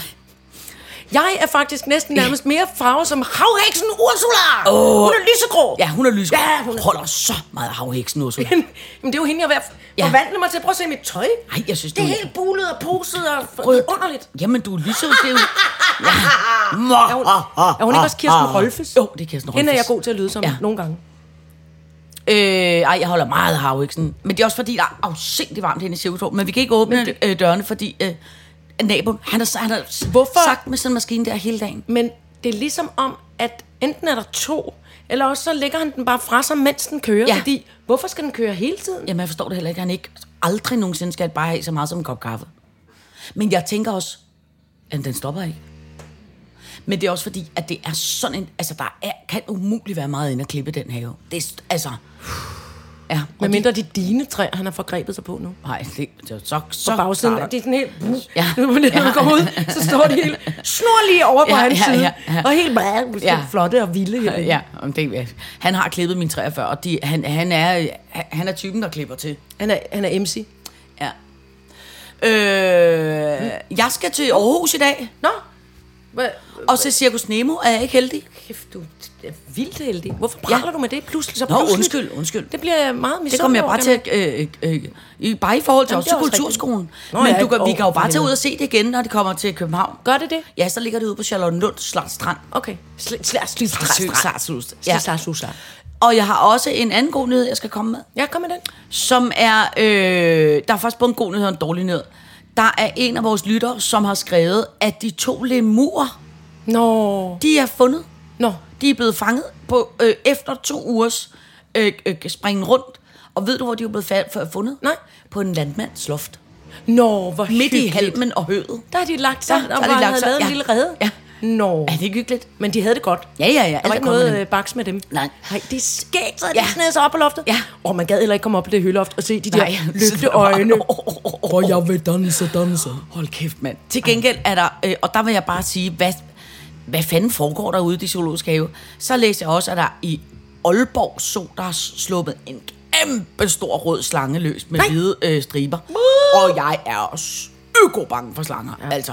Jeg er faktisk næsten nærmest mere farve som havheksen Ursula! Åh. Hun er lysegrå! Ja, hun er lyserød. Ja, hun er- holder så meget af havheksen også. Men, men det er jo hende, jeg vil Ja. forvandle mig til. Prøv at se mit tøj. Ej, jeg synes, det er du- helt bulet og poset og f- underligt. Jamen, du er lyserød. Det er jo... Ja. Er Ah, hun, er hun ikke også Kirsten Rolfes? Jo, det er Kirsten Rolfes. Hende er jeg god til at lyde som Ja. ja. nogle gange. Øh, ej, jeg holder meget af havheksen. Men det er også fordi, der er afsindig varmt herinde i Cirkustorv. Men vi kan ikke åbne det... øh, dørene, fordi øh, naboen, han har, han har Hvorfor? sagt med sådan en maskine der hele dagen. Men det er ligesom om, at enten er der to, eller også så lægger han den bare fra sig, mens den kører. Ja. Ja. Fordi, hvorfor skal den køre hele tiden? Jamen, jeg forstår det heller ikke. Han ikke aldrig nogensinde skal bare have så meget som en kop kaffe. Men jeg tænker også, at den stopper ikke. Men det er også fordi, at det er sådan en... Altså, der er, kan umuligt være meget inde at klippe den have. Det er... st- Altså... Ja, Men og de, mindre de dine træer, han har forgrebet sig på nu. nej, det, så, så, På så bagsiden, starter- det er sådan helt... Ja. Ja. Når man kommer ud, så står de helt snorlige over på Ja, ja, hans ja, ja, side. ja, Ja, ja. ja. Og helt bare, Ja. ja. flotte og vilde. Ja, Ja, om det, er- han har klippet mine træer før, og de, han, han, er, øh, han- han er typen, der klipper til. Han, er, han er MC. Ja. Øh, jeg skal til Aarhus i dag, Nå, Hva? og så Cirkus Nemo er jeg ikke heldig. kæft, du er vildt heldig. Hvorfor praler Ja. ja. du med det pludselig? Så Nå, pludselig? undskyld, undskyld. Det bliver jeg meget misundelig Det kommer jeg over, bare til Camilla. at... Øh, øh, øh, i, bare i forhold til Jamen, også det til er også Kulturskolen. Nå, Men ja, du kan, vi åh, kan jo for bare tage ud helvede. og se det igen, når det kommer til København. Gør det det? Ja, så ligger det ude på Charlottenlund Slots Strand. Okay. Sl- sl- sl- Sl- sl- Sl- Sl- Sl- Ja. Og jeg har også en anden god nyhed, jeg skal komme med. ja, kom med den. som er... Øh, der er faktisk både en god nyhed og en dårlig nyhed. Der er en af vores lyttere, som har skrevet, at de to lemurer, Nå. de er fundet. Nå. De er blevet fanget på øh, efter to ugers øh, øh, springen rundt. Og ved du, hvor de er blevet fa- f- fundet? Nej. På en landmands loft. Nå, hvor Midt i hyggeligt. halmen og høvet. Der har de lagt sig, Ja, ja, der og har bare de lagt havde sig, lavet ja. en lille redde. Ja. Nå. Er det ikke hyggeligt? Men de havde det godt. Ja, ja, ja. Der var Alt ikke er kommet noget med øh, baks med dem. Nej. Nej, det er skægt, så de Ja. ja. sned sig op på loftet. Ja. Og man gad heller ikke komme op på det høloft og se de der Nej, lygteøjne. så- Åh, åh, åh, åh. Hvor jeg vil danse, danse. Hold kæft, mand. Til gengæld er der, øh, og der vil jeg bare sige, hvad, hvad fanden foregår derude i de zoologiske have? Så læste jeg også, at der i Aalborg så, der er sluppet en kæmpe stor rød slange løs med Nej. hvide øh, striber. Og jeg er også øko bange for slanger, ja. altså.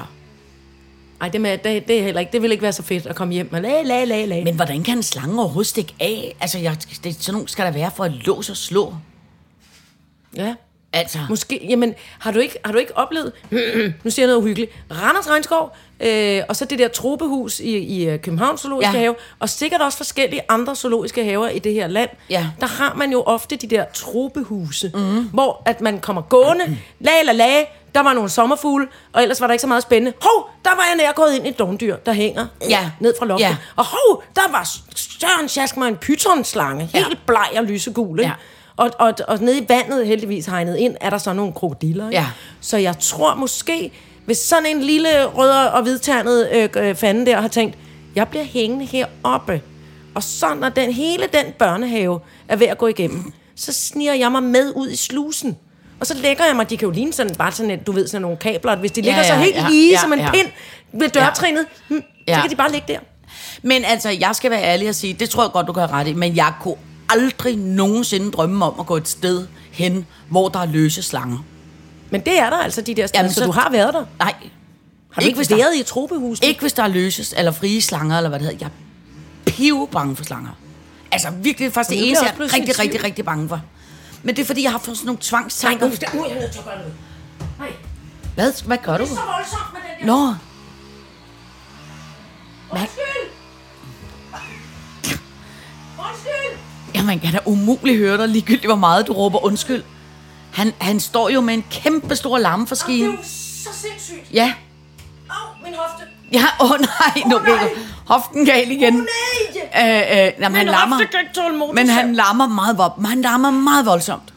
Ej, det, med, det, det, er heller ikke, det vil ikke være så fedt at komme hjem og la, la, la, la. Men hvordan kan en slange overhovedet stikke af? Altså, jeg, det, sådan nogle skal der være for at låse og slå. Ja. Altså, Måske, jamen, har du ikke, har du ikke oplevet, nu siger jeg noget uhyggeligt, Randers Regnskov, øh, og så det der tropehus i, i øh, Københavns Zoologiske Ja. ja. Have, og sikkert også forskellige andre zoologiske haver i det her land, Ja. Mhm. der har man jo ofte de der tropehuse, mm. hvor at man kommer gående, la la la, der var nogle sommerfugle, og ellers var der ikke så meget spændende. Hov, der var jeg nær gået ind i et dogndyr, der hænger Ja. ned fra loftet. Ja. Og hov, der var Søren Sjask mig en pythonslange, helt Ja. bleg og lysegul, ikke? Ja. Og, og, og nede i vandet, heldigvis hegnet ind, er der så nogle krokodiller. Ikke? Ja. Så jeg tror måske, hvis sådan en lille rød og hvidternet øh, øh, fanden der har tænkt, jeg bliver hængende heroppe, og så når den, hele den børnehave er ved at gå igennem, så sniger jeg mig med ud i slusen. Og så lægger jeg mig, de kan jo ligne sådan, bare sådan, et- du ved, sådan nogle kabler, at hvis de ligger ja, så helt ja, lige ja, som en ja. pind ved dørtrinet, ja. Ja. så kan de bare ligge der. Men altså, jeg skal være ærlig og sige, det tror jeg godt, du kan have ret i, men jeg kunne aldrig nogensinde drømme om at gå et sted hen, hvor der er løse slanger. Men det er der altså, de der steder, Jamen, så, så- du har været der. Nej, Har du ikke, hvis ikke der- været i et tropehus? ikke hvis der er løses eller frie slanger, eller hvad det hedder. Jeg er pive bange for slanger. Altså virkelig, faktisk Men nu det bliver eneste, jeg jeg også er pludselig i rigtig, tvivl. rigtig, rigtig bange for. Men det er, fordi jeg har fået sådan nogle Nej, tvangstanker. nu, nu er jeg nødt til at gøre noget. Nej, Hvad, hvad gør du? så voldsomt med den der... Nå, Undskyld! Undskyld! ja, man kan da umuligt høre dig, ligegyldigt hvor meget du råber undskyld. Han, han står jo med en kæmpe stor lammeforskine. Det er jo så sindssygt. Ja, Au, min hofte. ja, åh oh, nej, nu bliver hoften gal igen. Åh oh, nej! Øh, øh, jamen, han Min lammer, hofte kan ikke tåle motorsav. men han lammer meget, vo- han lammer meget voldsomt.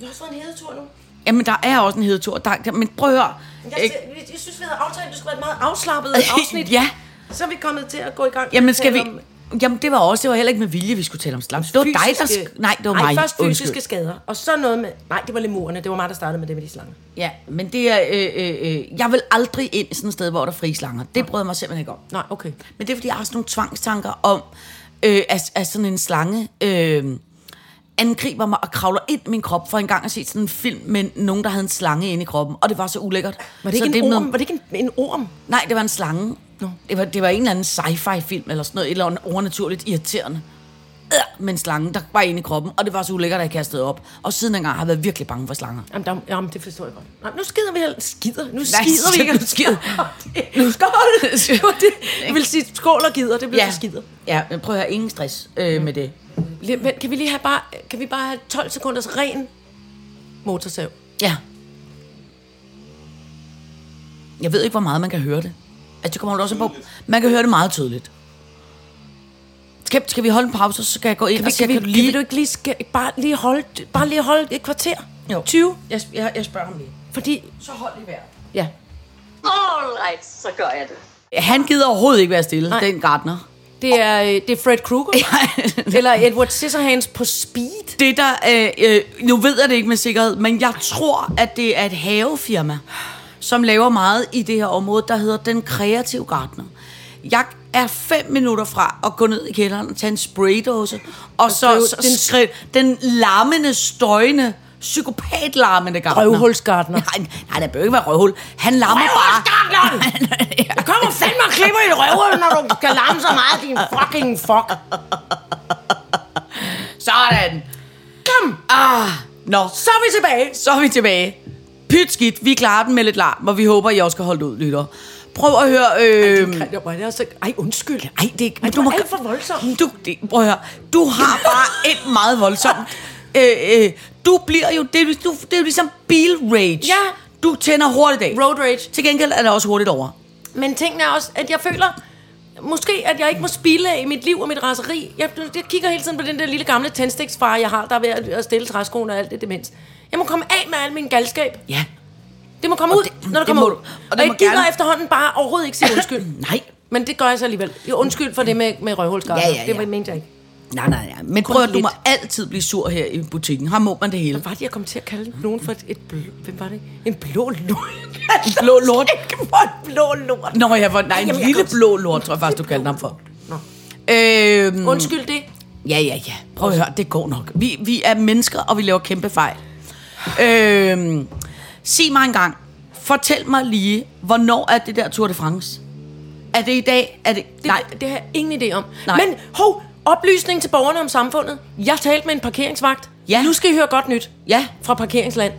Jeg har også fået en hedetur nu. Jamen, der er også en hedetur. Der, der, men prøv at høre. Jeg, Ikke? jeg, jeg synes, vi havde aftalt, at det skulle være et meget afslappet afsnit. Øh, Ja. Så er vi kommet til at gå i gang. med Jamen, at skal vi... tale om Jamen, det var også, det var heller ikke med vilje, vi skulle tale om slam. Det var dig, der... fysiske- Sk- nej, det var mig. først fysiske Undskyld. skader, og så noget med... Nej, det var lemurerne. Det var mig, der startede med det med de slanger. Ja, men det er... Øh, øh, øh, jeg vil aldrig ind sådan et sted, hvor der er frie slanger. Det brød jeg mig simpelthen ikke om. Nej, okay. Men det er, fordi jeg har sådan nogle tvangstanker om, øh, at, at sådan en slange øh, angriber mig og kravler ind i min krop. For en gang har jeg set sådan en film med nogen, der havde en slange inde i kroppen, og det var så ulækkert. Var det så ikke, er en, orm? noget- Var det ikke en, en orm? Nej, det var en slange. No. Det, var, det var en eller anden sci-fi film eller sådan noget, et eller andet overnaturligt irriterende. Øh, Men slangen, der var inde i kroppen, og det var så ulækkert, at jeg kastede op. Og siden dengang har jeg været virkelig bange for slanger. Jamen, der, jamen, det forstår jeg godt. Nej, nu skider vi heller. Skider? Nu Nej, skider vi ikke. nu skider. Nu skål. Det var det. Jeg vil sige, skål og gider, det bliver ja. skider. ja, men prøv at høre, ingen stress øh, med det. Lige- Vent, kan vi lige have bare, kan vi bare have 12 sekunders ren motorsav? Ja. Jeg ved ikke, hvor meget man kan høre det. Altså, det kommer jo også an på. Man kan høre det meget tydeligt. Skal, skal vi holde en pause, så skal jeg gå ind, og så Kan, vi, kan lige... kan du ikke lige, skal, bare, lige holde, bare lige holde et kvarter? Jo. 20? Jeg, jeg, jeg spørger ham lige. Fordi, Så hold i vejret. ja, Alright, så gør jeg det. Han gider overhovedet ikke være stille, Nej. den gartner. det er, øh, det er Fred Krueger. eller Edward Scissorhands på speed. Det der, øh, øh, nu ved jeg det ikke med sikkerhed, men jeg tror, at det er et havefirma, som laver meget i det her område, der hedder Den Kreative Gartner. Jeg er fem minutter fra at gå ned i kælderen og tage en spraydåse, og så, skrive så den, den- skri- den larmende, støjende, psykopatlarmende gartner. Røvhulsgartner. Nej, nej, der behøver ikke være røvhul. Han larmer bare. Jeg kommer fandme og klipper i røven, når du kan larme så meget, din fucking fuck. Sådan. Ah. Kom, Nå, så er vi tilbage. så er vi tilbage. Pyt skidt, vi klarer den med lidt larm, og vi håber, I også kan holde det ud, lytter. Prøv at høre... Øh, Jeg var også... Ej, undskyld. Ej, det er ikke... Ej, Øhm. du Mm, var alt for voldsom. Du, det, prøv at høre, du har bare et meget voldsomt... Øh, øh, du bliver jo... Det, er lig- du, det er jo ligesom bilrage. Ja. Du tænder hurtigt af. Road rage. Til gengæld er det også hurtigt over. Men tingene er også, at jeg føler, måske at jeg ikke må spille af i mit liv og mit raseri. Jeg, jeg kigger hele tiden på den der lille gamle tændstiksfar, jeg har, der er ved at at stille træskoen og alt det demens. Jeg må komme af med al min galskab. Ja. Det må komme ud, det- når det det kommer må ud. du. Og, Og det og jeg må gider gerne- efterhånden bare overhovedet ikke sige undskyld. Nej. Men det gør jeg så alligevel. Jo, undskyld for det med, med røvhulsgarden. Ja, ja, ja. Det mente jeg ikke. Nej, nej, nej. Men prøv at du lidt. må altid blive sur her i butikken. Her må man det hele. Hvad var det, jeg kom til at kalde nogen for et, et blå... Hvem var det? En blå lort. En blå lort. Ikke for en blå lort. Nå, jeg var, nej, en Jamen, jeg lille kan- blå lort, tror jeg faktisk, du kaldte ham for. Øhm, Undskyld det. Ja, ja, ja. Prøv at høre, det går nok. Vi, vi er mennesker, og vi laver kæmpe fejl. Øhm, sig mig engang. Fortæl mig lige, hvornår er det der Tour de France? Er det i dag? Er det... Det, Nej. det har jeg ingen idé om. Nej. Men hov, oplysning til borgerne om samfundet. Jeg talte med en parkeringsvagt. Ja. Nu skal I høre godt nyt Ja. fra parkeringsland.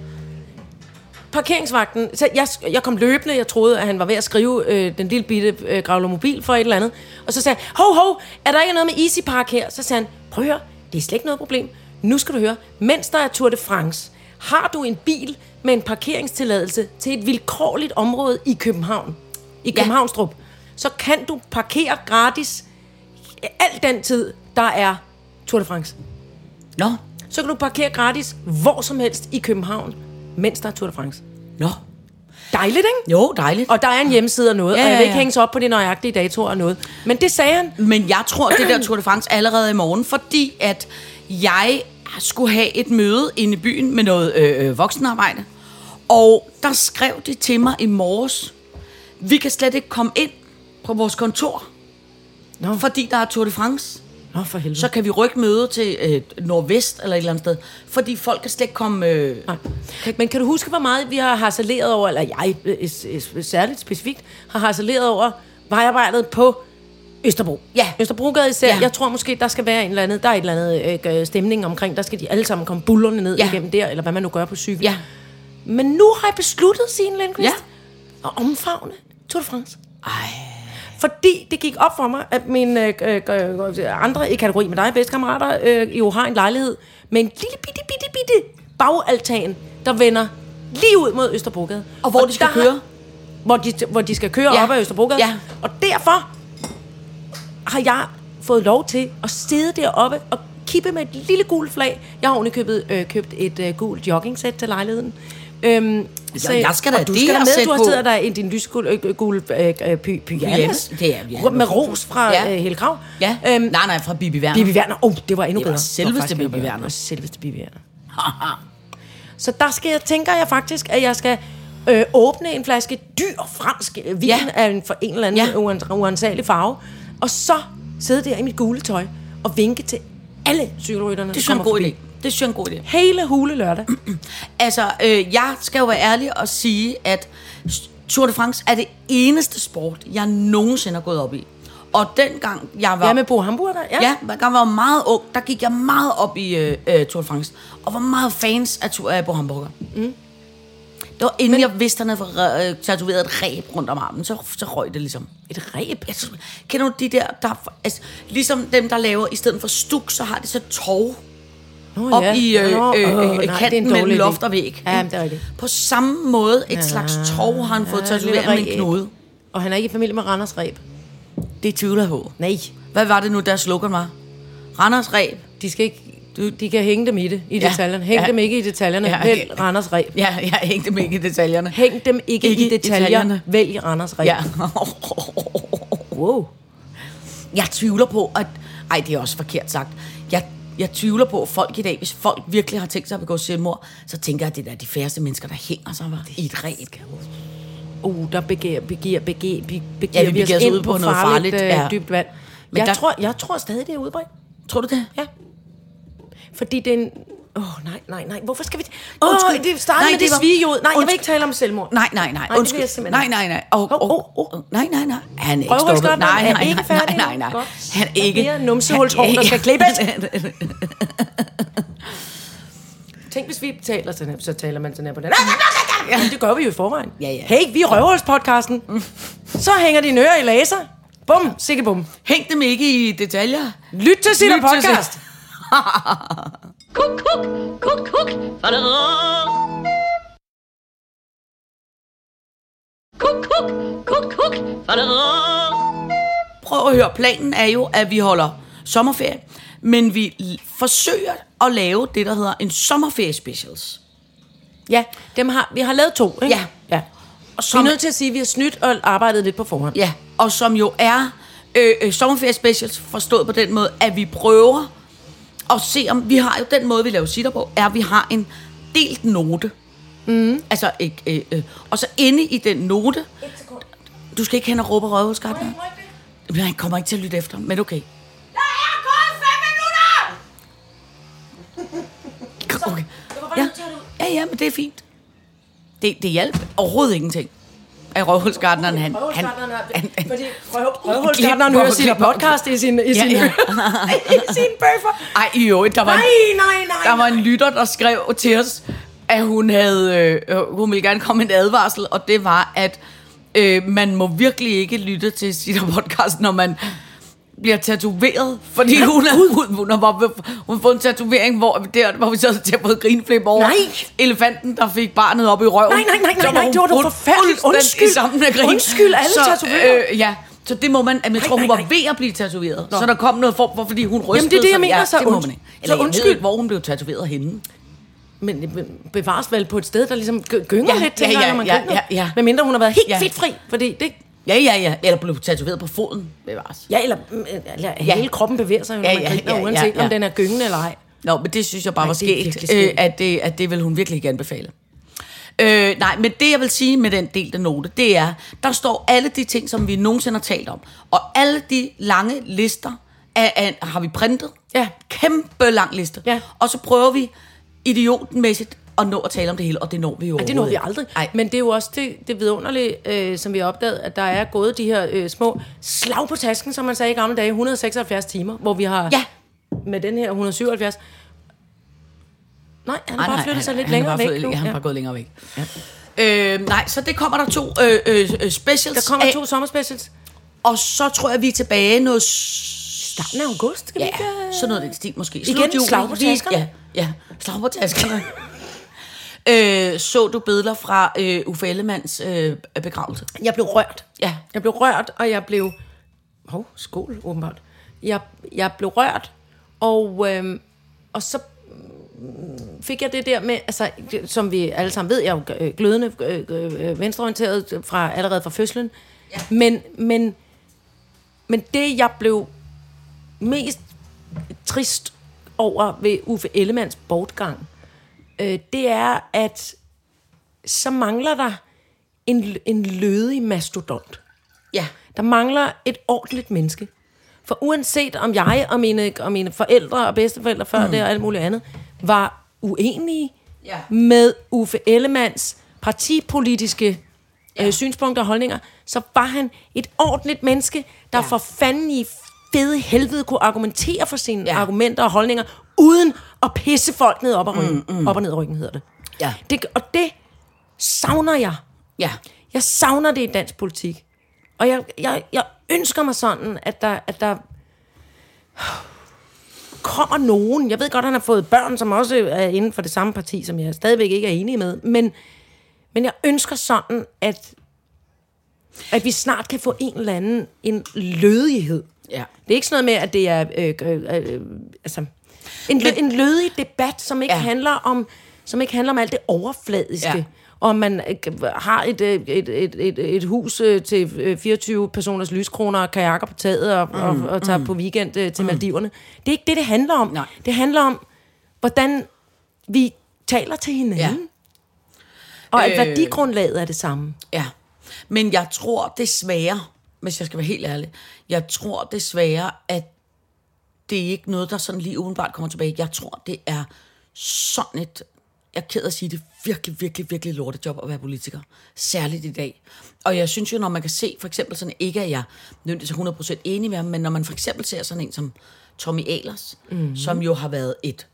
Parkeringsvagten, så jeg, jeg kom løbende, jeg troede, at han var ved at skrive øh, den lille bitte øh, gravlermobil for et eller andet. Og så sagde han, hov, hov, er der ikke noget med Easy Park her? Så sagde han, prøv at høre, det er slet ikke noget problem. Nu skal du høre, mens der er Tour de France, har du en bil med en parkeringstilladelse til et vilkårligt område i København, i Københavnstrup, så kan du parkere gratis alt den tid, der er Tour de France Nå. så kan du parkere gratis hvor som helst i København, mens der er Tour de France. Nå. Dejligt, ikke? Jo, dejligt. Og der er en hjemmeside og noget, ja, Ja, og jeg ja, vil ikke ja. hænges op på de nøjagtige datoer og noget. Men det sagde han. Men jeg tror, det der Tour de France er allerede i morgen, fordi at jeg skulle have et møde inde i byen med noget øh, øh, voksenarbejde. Og der skrev de til mig i morges, vi kan slet ikke komme ind på vores kontor, Nå, for, fordi der er Tour de France. nå, for helvede. Så kan vi rykke mødet til øh, Nordvest eller et eller andet sted, fordi folk kan slet ikke komme... Øh, Nej. Men kan du huske, hvor meget vi har harceleret over, eller jeg øh, s- s- særligt specifikt, har harceleret over vejarbejdet på Østerbro. Ja. Østerbrogade især. Ja. Jeg tror måske, der skal være en eller anden, der er et eller andet øh, stemning omkring, der skal de alle sammen komme bullerne ned Ja. igennem der, eller hvad man nu gør på cykel. ja. Men nu har jeg besluttet, Signe Lindqvist, Ja. at omfavne Tour de France. Ej. Fordi det gik op for mig, at mine øh, øh, øh, andre i kategori med dig, bedste kammerater, øh, jo har en lejlighed med en lille bitte, bitte, bitte bagaltan, der vender lige ud mod Østerbrogade. Og hvor de skal der har- køre. Hvor de, hvor de skal køre Ja. ja. op ad Østerbrogade. Ja. Og derfor har jeg fået lov til at sidde deroppe og kippe med et lille gult flag. Jeg har ordentligt købet, øh, købt et øh, gult joggingsæt til lejligheden. Øhm, så, jeg skal da og du lige skal da have med, sæt du har på. siddet der i din lysgul øh, gul, øh, øh, py, pyjamas. Pyjamas, det er- ja, med ros fra Ja. ja. øh, Hele Krav. Ja, øhm, nej, nej, fra Bibi Werner. Bibi Werner. Oh, det var endnu Det var bedre. selveste faktisk Bibi endnu bedre. Werner. Og Selveste Bibi Werner. så der skal jeg, tænker jeg faktisk, at jeg skal øh, åbne en flaske dyr fransk øh, vin Ja. ja. af en, for en eller anden Ja. ja. uansagelig farve. Og så sidde der i mit gule tøj og vinke til alle cykelrytterne. Det synes der jeg er en kommer god idé. forbi. Det synes jeg er en god idé. Hele hule lørdag. Altså, øh, jeg skal jo være ærlig og sige, at Tour de France er det eneste sport, jeg nogensinde har gået op i. Og dengang jeg var... Ja, med Bo Hamburg der. Ja, dengang jeg var meget ung, der gik jeg meget op i øh, øh, Tour de France. Og var meget fans af, Tour- af Bo Hamburger. Mm. Det var inden Men... jeg vidste, han havde fået, øh, tatoveret et ræb rundt om armen. Så, så røg det ligesom. Et ræb. Jeg tror, kender du de der, der altså, ligesom dem, der laver, i stedet for stuk, så har de så tov Nå, op ja. i øh, Nå, øh, åh, øh, nej, det er en kanten mellem dårlig idé. loft og væg. Ja, men det er rigtigt. På samme måde, et ja, slags tov har han fået Ja, tatoveret lidt med en ræb. knude. Og han er ikke i familie med Randers Ræb. Det tvivler jeg på. Nej, Hvad var det nu, der slogan var? Randers Ræb. de skal ikke... Du, de kan hænge dem i det, i Ja. detaljerne. Hæng Ja. ja. dem ikke i detaljerne. Ja. Ja. Vælg Randers Ræb. Ja, jeg hængte dem ikke i detaljerne. Hæng dem ikke, Ikke ikke i i detaljer. detaljerne. detaljerne. Vælg Randers Ræb. Ja. Wow. Jeg tvivler på, at... Ej, det er også forkert sagt. Jeg, jeg tvivler på, at folk i dag, hvis folk virkelig har tænkt sig at begå selvmord, så tænker jeg, at det er da de færreste mennesker, der hænger sig var, i et ræb. Uh, der begiver, begiver, begiver, begiver, Ja, vi begiver vi os begiver os ind ud på på, noget farligt, farligt, øh, ja. dybt vand. Men Men jeg, der- der... tror, jeg tror stadig, det er udbredt. Tror du det? Ja. Fordi det er en... Åh, oh, nej, nej, nej. Hvorfor skal vi... Åh, Undskyld. oh, det startede Nej, med det det, var- det svigejod. Nej, jeg Undskyld. vil ikke tale om selvmord. Nej, nej, nej. det vil Undskyld. jeg simpelthen nej, nej, ikke. nej. Og, Hov, og, hov, og, nej, nej, nej. Han er ikke Røvhulsgodteren stoppet. Nej, er nej, ikke nej, nej, færdig. nej, nej. Godt. Han er ikke. Der bliver numsehulshår, der skal Altså, klippes. Tænk, hvis vi taler sådan her, så taler man sådan her på den. Ja. Det gør vi jo i forvejen. Ja, ja. Hey, vi er røvhulspodcasten. Så hænger dine ører i laser. Bum, sikke bum. Hæng dem ikke i detaljer. Lyt til sit Lyt til podcast. Kuk, kuk, kuk, kuk. Kuk, kuk, kuk, kuk. Prøv at høre, planen er jo, at vi holder sommerferie, men vi l- forsøger at lave det, der hedder en sommerferie specials. Ja, dem har, vi har lavet to, ikke? Ja. ja. Og Vi er som, nødt til at sige, at vi har snydt og arbejdet lidt på forhånd. ja, og som jo er øh, øh, sommerferie specials forstået på den måde, at vi prøver at se om, vi har jo den måde, vi laver sitter på, er, at vi har en delt note. Mm. Altså, øh, øh, øh, og så inde i den note, du skal ikke hen og råbe røvhulsgartner. Nej, han kommer ikke til at lytte efter, men okay. Der er gået fem minutter! Okay. Ja. ja, ja, men det er fint. Det, det hjalp overhovedet ingenting. At røvhulsgartneren, han... han, han, han Fordi røvhulsgartneren hører sin podcast i sin, i sin, ja. i sin bøffer. Ej, i øvrigt, der var, Nej, en, nej, nej. der var en lytter, der skrev til os, at hun, havde, øh, øh, hun ville gerne komme med en advarsel, og det var, at øh, man må virkelig ikke lytte til sit podcast, når man bliver tatoveret, fordi hun, er, hun, hun, har, bare- hun har fået en tatovering, hvor, der, hvor vi sad til at få grinflip over Nej. elefanten, der fik barnet op i røven. Nej, nej, nej, nej, Så var nej, hun det var da brudt forfærdeligt. fuldstændig Undskyld. sammen af grin. Undskyld, alle så, tatoveringer. Øh, ja, så det må man, jeg tror, nej, hun var nej. ved at blive tatoveret. Så der kom noget form for, fordi hun rystede Jamen, det er det, jeg sig. mener, ja, så det må und- man ikke. så Eller så undskyld, undskyld. hvor hun blev tatoveret henne. Men men bevares vel på et sted, der ligesom gø- gynger Ja, lidt, tænker ja, ja, ja, når man ja, gynger. ja, ja. Men mindre hun har været helt Ja. ja. fedtfri, fordi det... Ja, ja, ja. Eller blev tatoveret på foden. Bevares. Ja, eller, mm, eller ja. hele kroppen bevæger sig, jo, når Ja, ja, man ja, griner, ja, ja, uanset ja. om den er gyngende eller ej. Nå, men det synes jeg bare Nej, var det er skægt, virkelig skægt. øh, at, det, at det vil hun virkelig ikke anbefale. Øh, nej, men det jeg vil sige med den delte note, det er, der står alle de ting, som vi nogensinde har talt om. Og alle de lange lister af, af, har vi printet. Ja. Kæmpe lang liste. Ja. Og så prøver vi idiotenmæssigt at nå at tale om det hele, og det når vi jo Ej, det når vi overhovedet aldrig. ikke. Ej. Men det er jo også det, det vidunderlige, øh, som vi har opdaget, at der er gået de her øh, små slag på tasken, som man sagde i gamle dage, 176 timer, hvor vi har Ja. med den her 177... Nej, han har Nej, bare nej, flyttet sig han- lidt han er bare længere væk flyttet- nu. ja, Han er Ja. bare gået længere væk. Øh, nej, så det kommer der to øh, øh, øh, specials Der kommer af. to sommerspecials. Og så tror jeg, vi er tilbage noget... s- Starten af august, skal vi Ja, ikke? øh? sådan noget i den stil måske. Igen, juli. slag på Vi- taskerne? Ja, ja slag på taskerne. øh, så du billeder fra øh, Uffe Ellemanns øh, begravelse? Jeg blev rørt. Ja. Jeg blev rørt, og jeg blev... Hov, skål, åbenbart. Jeg, jeg blev rørt, og, øhm, og så mm, fik jeg det der med, altså, det- som vi alle sammen ved, jeg er jo øh, glødende øh, øh, venstreorienteret fra, allerede fra fødslen. Ja. Men, men, men det, jeg blev mest trist over ved Uffe Ellemanns bortgang, øh, det er, at så mangler der en, en lødig mastodont. Ja. Der mangler et ordentligt menneske. For uanset om jeg og mine, og mine forældre og bedsteforældre før mm. det og alt muligt andet, var uenige Ja. med Uffe Ellemanns partipolitiske øh, synspunkter og holdninger, så var han et ordentligt menneske, der ja. for fanden i fede helvede kunne argumentere for sine ja. Ja. argumenter og holdninger, uden at pisse folk ned op, ad ryggen. Mm, mm. op og ned ad ryggen, hedder det. Ja. det. Og det savner jeg. Ja. Jeg savner det i dansk politik. Og jeg, jeg, jeg ønsker mig sådan, at der, at der kommer nogen. Jeg ved godt, han har fået børn, som også er inden for det samme parti, som jeg stadigvæk ikke er enig med. Men, men jeg ønsker sådan, at, at vi snart kan få en eller anden en lødighed. Ja. Det er ikke sådan noget med, at det er... Øh, øh, øh, altså, en, lø, en lødig debat, som ikke, ja. Ja. handler om, som ikke handler om alt det overfladiske. Ja. Ja. Og om man øh, har et, øh, et, et, et, et hus øh, til øh, 24 personers lyskroner og kajakker på taget og, mm, og, og tager mm. på weekend øh, til mm. Maldiverne. Det er ikke det, det handler om. Nej. Det handler om, hvordan vi taler til hinanden. Ja. Og at Øh. værdigrundlaget er det samme. Ja. Men jeg tror desværre, hvis jeg skal være helt ærlig, jeg tror desværre, at det er ikke noget, der sådan lige udenbart kommer tilbage. Jeg tror, det er sådan et, jeg er ked af at sige det, virkelig, virkelig, virkelig lortejob at være politiker. Særligt i dag. Og jeg synes jo, når man kan se, for eksempel sådan, ikke at jeg nødvendigvis er 100% enig med ham, men når man for eksempel ser sådan en som Tommy Ahlers, mm-hmm. som jo har været et,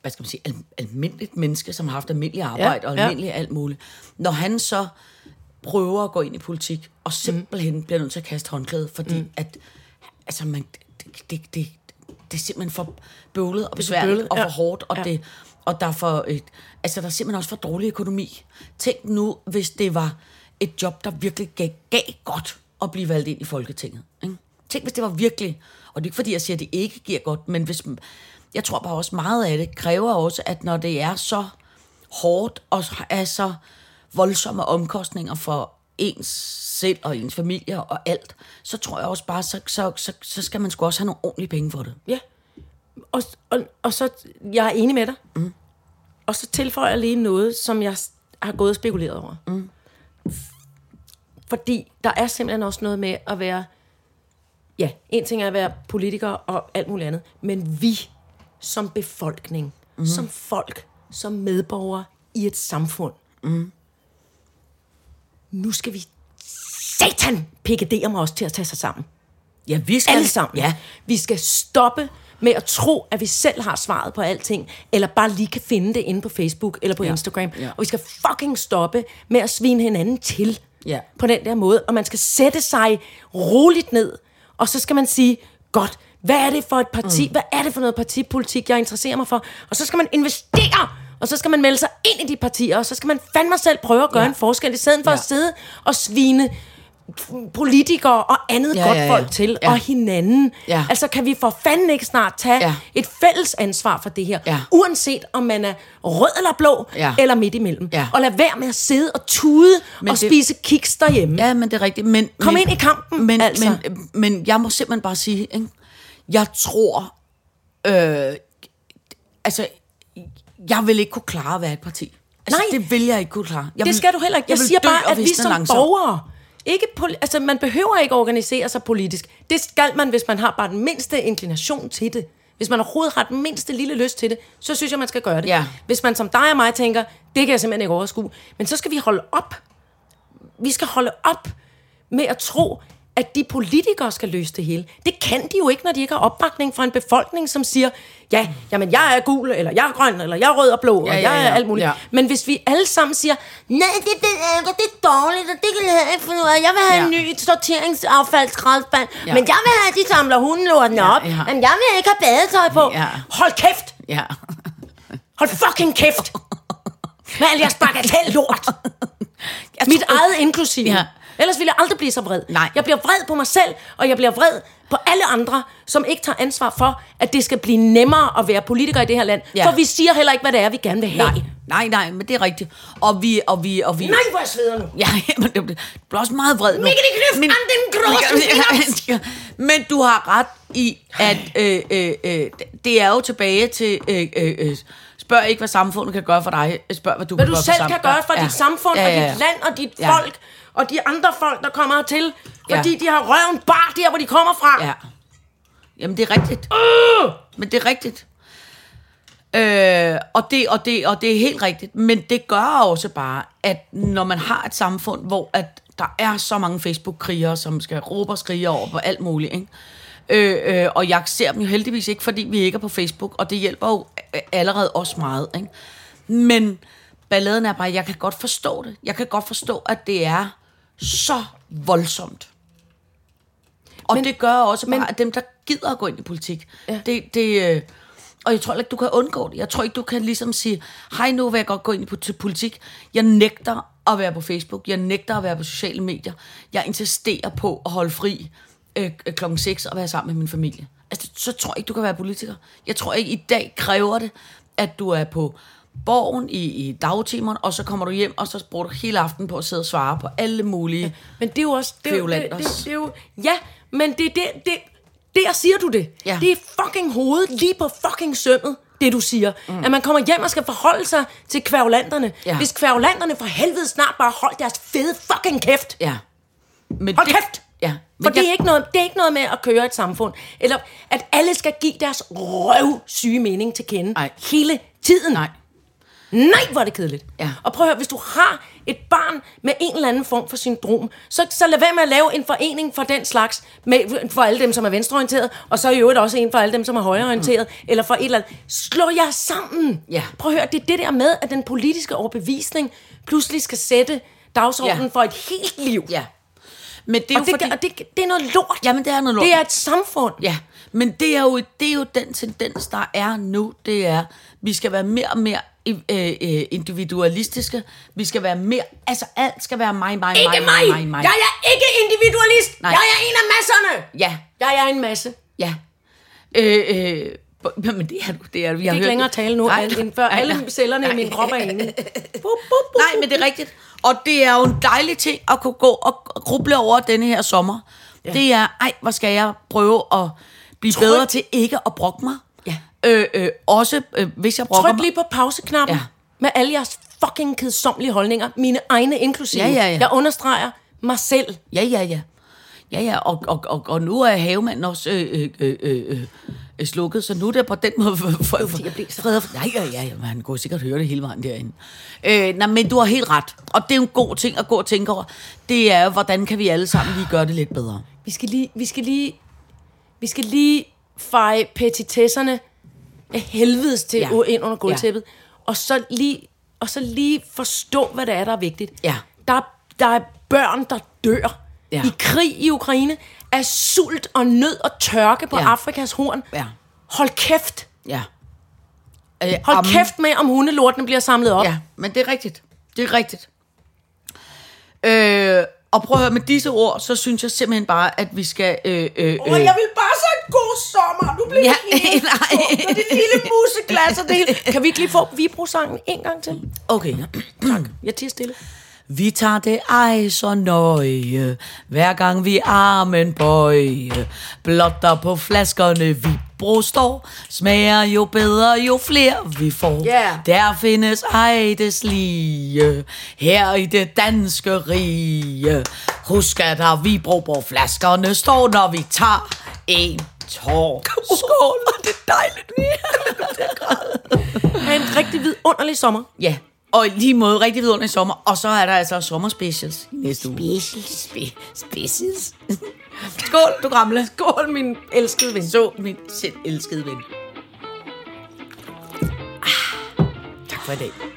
hvad skal man sige, al- almindeligt menneske, som har haft almindelig arbejde ja, og ja. almindelig alt muligt. Når han så prøver at gå ind i politik, og simpelthen mm. bliver nødt til at kaste håndklæde, fordi mm. at, altså man, det, det, det, det er simpelthen for bøvlet og besværligt bøvlet, og for ja. hårdt, og, Ja. ja. det, og der, er for, et, altså der er simpelthen også for dårlig økonomi. Tænk nu, hvis det var et job, der virkelig gav, gav godt at blive valgt ind i Folketinget. Ikke? Tænk, hvis det var virkelig, og det er ikke fordi, jeg siger, at det ikke giver godt, men hvis, jeg tror bare også meget af det kræver også, at når det er så hårdt og er så voldsomme omkostninger for ens selv og ens familie og alt, så tror jeg også bare, så, så, så, så skal man sgu også have nogle ordentlige penge for det. Ja. Og, og, og så, jeg er enig med dig. Mm. Og så tilføjer jeg lige noget, som jeg s- har gået og spekuleret over. Mm. Fordi der er simpelthen også noget med at være... Ja, en ting er at være politiker og alt muligt andet. Men vi som befolkning, mm. som folk, som medborgere i et samfund. Mm. Nu skal vi satan pikkadere mig også til at tage sig sammen Ja, vi skal alle sammen. Ja, Vi skal stoppe med at tro, at vi selv har svaret på alting, eller bare lige kan finde det inde på Facebook eller på ja. Instagram. Ja. ja. Og vi skal fucking stoppe med at svine hinanden til Ja. på den der måde. Og man skal sætte sig roligt ned, og så skal man sige, godt, hvad er det for et parti, mm. hvad er det for noget partipolitik, jeg interesserer mig for? Og så skal man investere, og så skal man melde sig ind i de partier, og så skal man fandme selv prøve at gøre ja. en forskel, i stedet for ja. Ja. at sidde og svine politikere og andet ja, godt ja, ja. folk til, ja. og hinanden. Ja. Altså, kan vi for fanden ikke snart tage ja. Ja. et fælles ansvar for det her, Ja. uanset om man er rød eller blå, Ja. eller midt imellem. Ja. Og lad være med at sidde og tude Men Men og det... det- spise kiks derhjemme. ja men det er rigtigt. Men, Kom men, ind i kampen, men, altså. Men, men jeg må simpelthen bare sige, ikke? jeg tror, øh, altså, jeg vil ikke kunne klare at være et parti. Altså, Nej. det vil jeg ikke kunne klare. Jeg det vil, skal du heller ikke. Jeg, vil siger dø bare, og at vi visne som langsomt. borgere... Ikke poli- altså, man behøver ikke organisere sig politisk. Det skal man, hvis man har bare den mindste inklination til det. Hvis man overhovedet har den mindste lille lyst til det, så synes jeg, man skal gøre det. Ja. Hvis man som dig og mig tænker, det kan jeg simpelthen ikke overskue. Men så skal vi holde op. Vi skal holde op med at tro, at de politikere skal løse det hele. Det kan de jo ikke, når de ikke har opbakning fra en befolkning, som siger, ja, jamen jeg er gul, eller jeg er grøn, eller jeg er rød og blå, ja, og ja, jeg ja. er alt muligt. Ja. Ja. Men hvis vi alle sammen siger, nej, det, det, er- det er dårligt, og det kan jeg ikke finde ud af. Jeg vil have ja. en Ja. ny sorteringsaffaldsskraldspand, Ja. ja. men jeg vil have, at de samler hundelortene Ja, ja, op. ja. Ja. Jamen, jeg vil ikke have badetøj på. Ja. Ja. Hold kæft! Ja. Hold fucking kæft! Med al jeres bagatellort! Mit eget inklusiv. Ja. Ja. Ellers ville jeg aldrig blive så vred. Nej. Jeg bliver vred på mig selv, og jeg bliver vred på alle andre, som ikke tager ansvar for, at det skal blive nemmere at være politiker i det her land. Ja. Ja. For vi siger heller ikke, hvad det er, vi gerne vil have. Nej, nej, nej, men det er rigtigt. Og vi, og vi, og vi... Nej, hvor jeg sveder nu. Ja, men det bliver du bliver også meget vred nu. Mikkeli Knøft, an den großen Men du har ret i, at øh, øh, øh, det er jo tilbage til... Øh, øh, øh, spørg ikke, hvad samfundet kan gøre for dig. øh, Spørg, hvad du Hvad kan du gøre selv for kan gøre for ja. dit samfund, ja, ja, ja. og dit land, og dit Ja. folk, og de andre folk, der kommer hertil. Ja. Fordi de har røven bare der, hvor de kommer fra. Ja. Jamen, det er rigtigt. Men det er rigtigt. Øh, og, det, og, det, og det er helt rigtigt. Men det gør også bare, at når man har et samfund, hvor at der er så mange Facebook-krigere, som skal råbe og skrige over på alt muligt, ikke? Øh, øh, og jeg ser dem jo heldigvis ikke, fordi vi ikke er på Facebook, og det hjælper jo øh, allerede også meget. Ikke? Men balladen er bare, jeg kan godt forstå det. Jeg kan godt forstå, at det er så voldsomt. Og men, det gør også bare, men, at dem, der gider at gå ind i politik, ja. det, det, øh, og jeg tror heller ikke, du kan undgå det. Jeg tror ikke, du kan ligesom sige, hej, nu vil jeg godt gå ind i po- til politik. Jeg nægter at være på Facebook. Jeg nægter at være på sociale medier. Jeg insisterer på at holde fri øh, øh, klokken 6 og være sammen med min familie. Altså, så tror jeg ikke, du kan være politiker. Jeg tror ikke, i dag kræver det, at du er på borgen i, i dagtimerne, og så kommer du hjem, og så bruger du hele aftenen på at sidde og svare på alle mulige... Men det er jo også... Det, er jo- det, det, Kvævlanders. det, det er jo, ja, men det er det, det... Der siger du det. Ja. Det er fucking hovedet lige på fucking sømmet, det du siger. Mm. At man kommer hjem og skal forholde sig til kvævlanderne. Ja. Ja. Hvis kvævlanderne for helvede snart bare holdt deres fede fucking kæft. Ja. Men Hold kæft! Ja. Men For det jeg- er, ikke noget, det er ikke noget med at køre et samfund. Eller at alle skal give deres røvsyge mening til kende. Nej. Hele tiden. Nej. Nej, hvor er det kedeligt. Ja. Og prøv at høre, hvis du har et barn med en eller anden form for syndrom, så, så lad være med at lave en forening for den slags, med, for alle dem, som er venstreorienteret, og så i øvrigt også en for alle dem, som er højreorienteret, mm. eller for et eller andet. Slå jer sammen! Ja. Prøv at høre, det er det der med, at den politiske overbevisning pludselig skal sætte dagsordenen Ja. for et helt liv. Ja. Men det er Og, jo det, fordi... fordi... og det, det er noget lort. Jamen, det er noget lort. Det er et samfund. Ja, men det er, jo, det er jo den tendens, der er nu. Det er, vi skal være mere og mere øh, øh, individualistiske. Vi skal være mere... Altså, alt skal være mig, mig, Ikke mig, mig! Jeg er ikke individualist! Nej. Jeg er en af masserne! Ja, Jeg er en masse. ja. Øh, øh, b- men det er du, det er du. Jeg Jeg kan ikke længere tale nu, Nej, end før nej, alle nej. cellerne i min Nej. krop er inde. Nej, men det er rigtigt. Og det er jo en dejlig ting at kunne gå og gruble over denne her sommer. Ja. Det er, ej, hvor skal jeg prøve at blive Tryk. bedre til ikke at brokke mig. Ja. Øh, øh, også øh, hvis jeg brokker Tryk mig. lige på pauseknappen Ja. ja. med alle jeres fucking kedsommelige holdninger. Mine egne inklusive. Ja, ja, ja. Jeg understreger mig selv. Ja, ja, ja. Ja, ja, og, og, og, og nu er havemanden også øh, øh, øh, øh, øh, slukket, så nu er det på den måde... For, for, for, jeg blev så fred. Nej, ja, ja, ja, men han kunne sikkert høre det hele vejen derinde. Øh, nej, men du har helt ret, og det er jo en god ting at gå og tænke over. Det er, hvordan kan vi alle sammen lige gøre det lidt bedre? Vi skal lige, vi skal lige, vi skal lige feje petitesserne af helvedes til Ja. ja. ind under gulvtæppet, ja. og, så lige, og så lige forstå, hvad det er, der er vigtigt. Ja. Der, er- der er børn, der dør Ja. ja. i krig i Ukraine af sult og nød og tørke på Ja. ja. Afrikas horn. Ja. Hold kæft. Ja. Øh, Hold amen. kæft med, om hundelortene bliver samlet op. Ja, men det er rigtigt. Det er rigtigt. Øh, og prøv at høre, med disse ord, så synes jeg simpelthen bare, at vi skal... Øh, øh, øh, Og jeg vil bare så en god sommer. Nu bliver Ja, ja, det helt nej. sort, og det lille museglas og det hele. Kan vi ikke lige få Vibro-sangen en gang til? Okay. Jeg tiger stille. Vi tager det ej så nøje, hver gang vi armen bøje. Blot der på flaskerne vi bro står, smager jo bedre, jo flere vi får. Ja. Der findes ej des lige, her i det danske rige. Husk at der vi bro på flaskerne står, når vi tager en tår. Skål, det er dejligt. Ha' en rigtig vidunderlig sommer. Ja, og i lige måde rigtig vidunderlig sommer. Og så er der altså sommerspecials i næste uge. Specials. Specials. Skål, du gamle. Skål, min elskede ven. Så min selv elskede ven. Ah, Tak for i dag.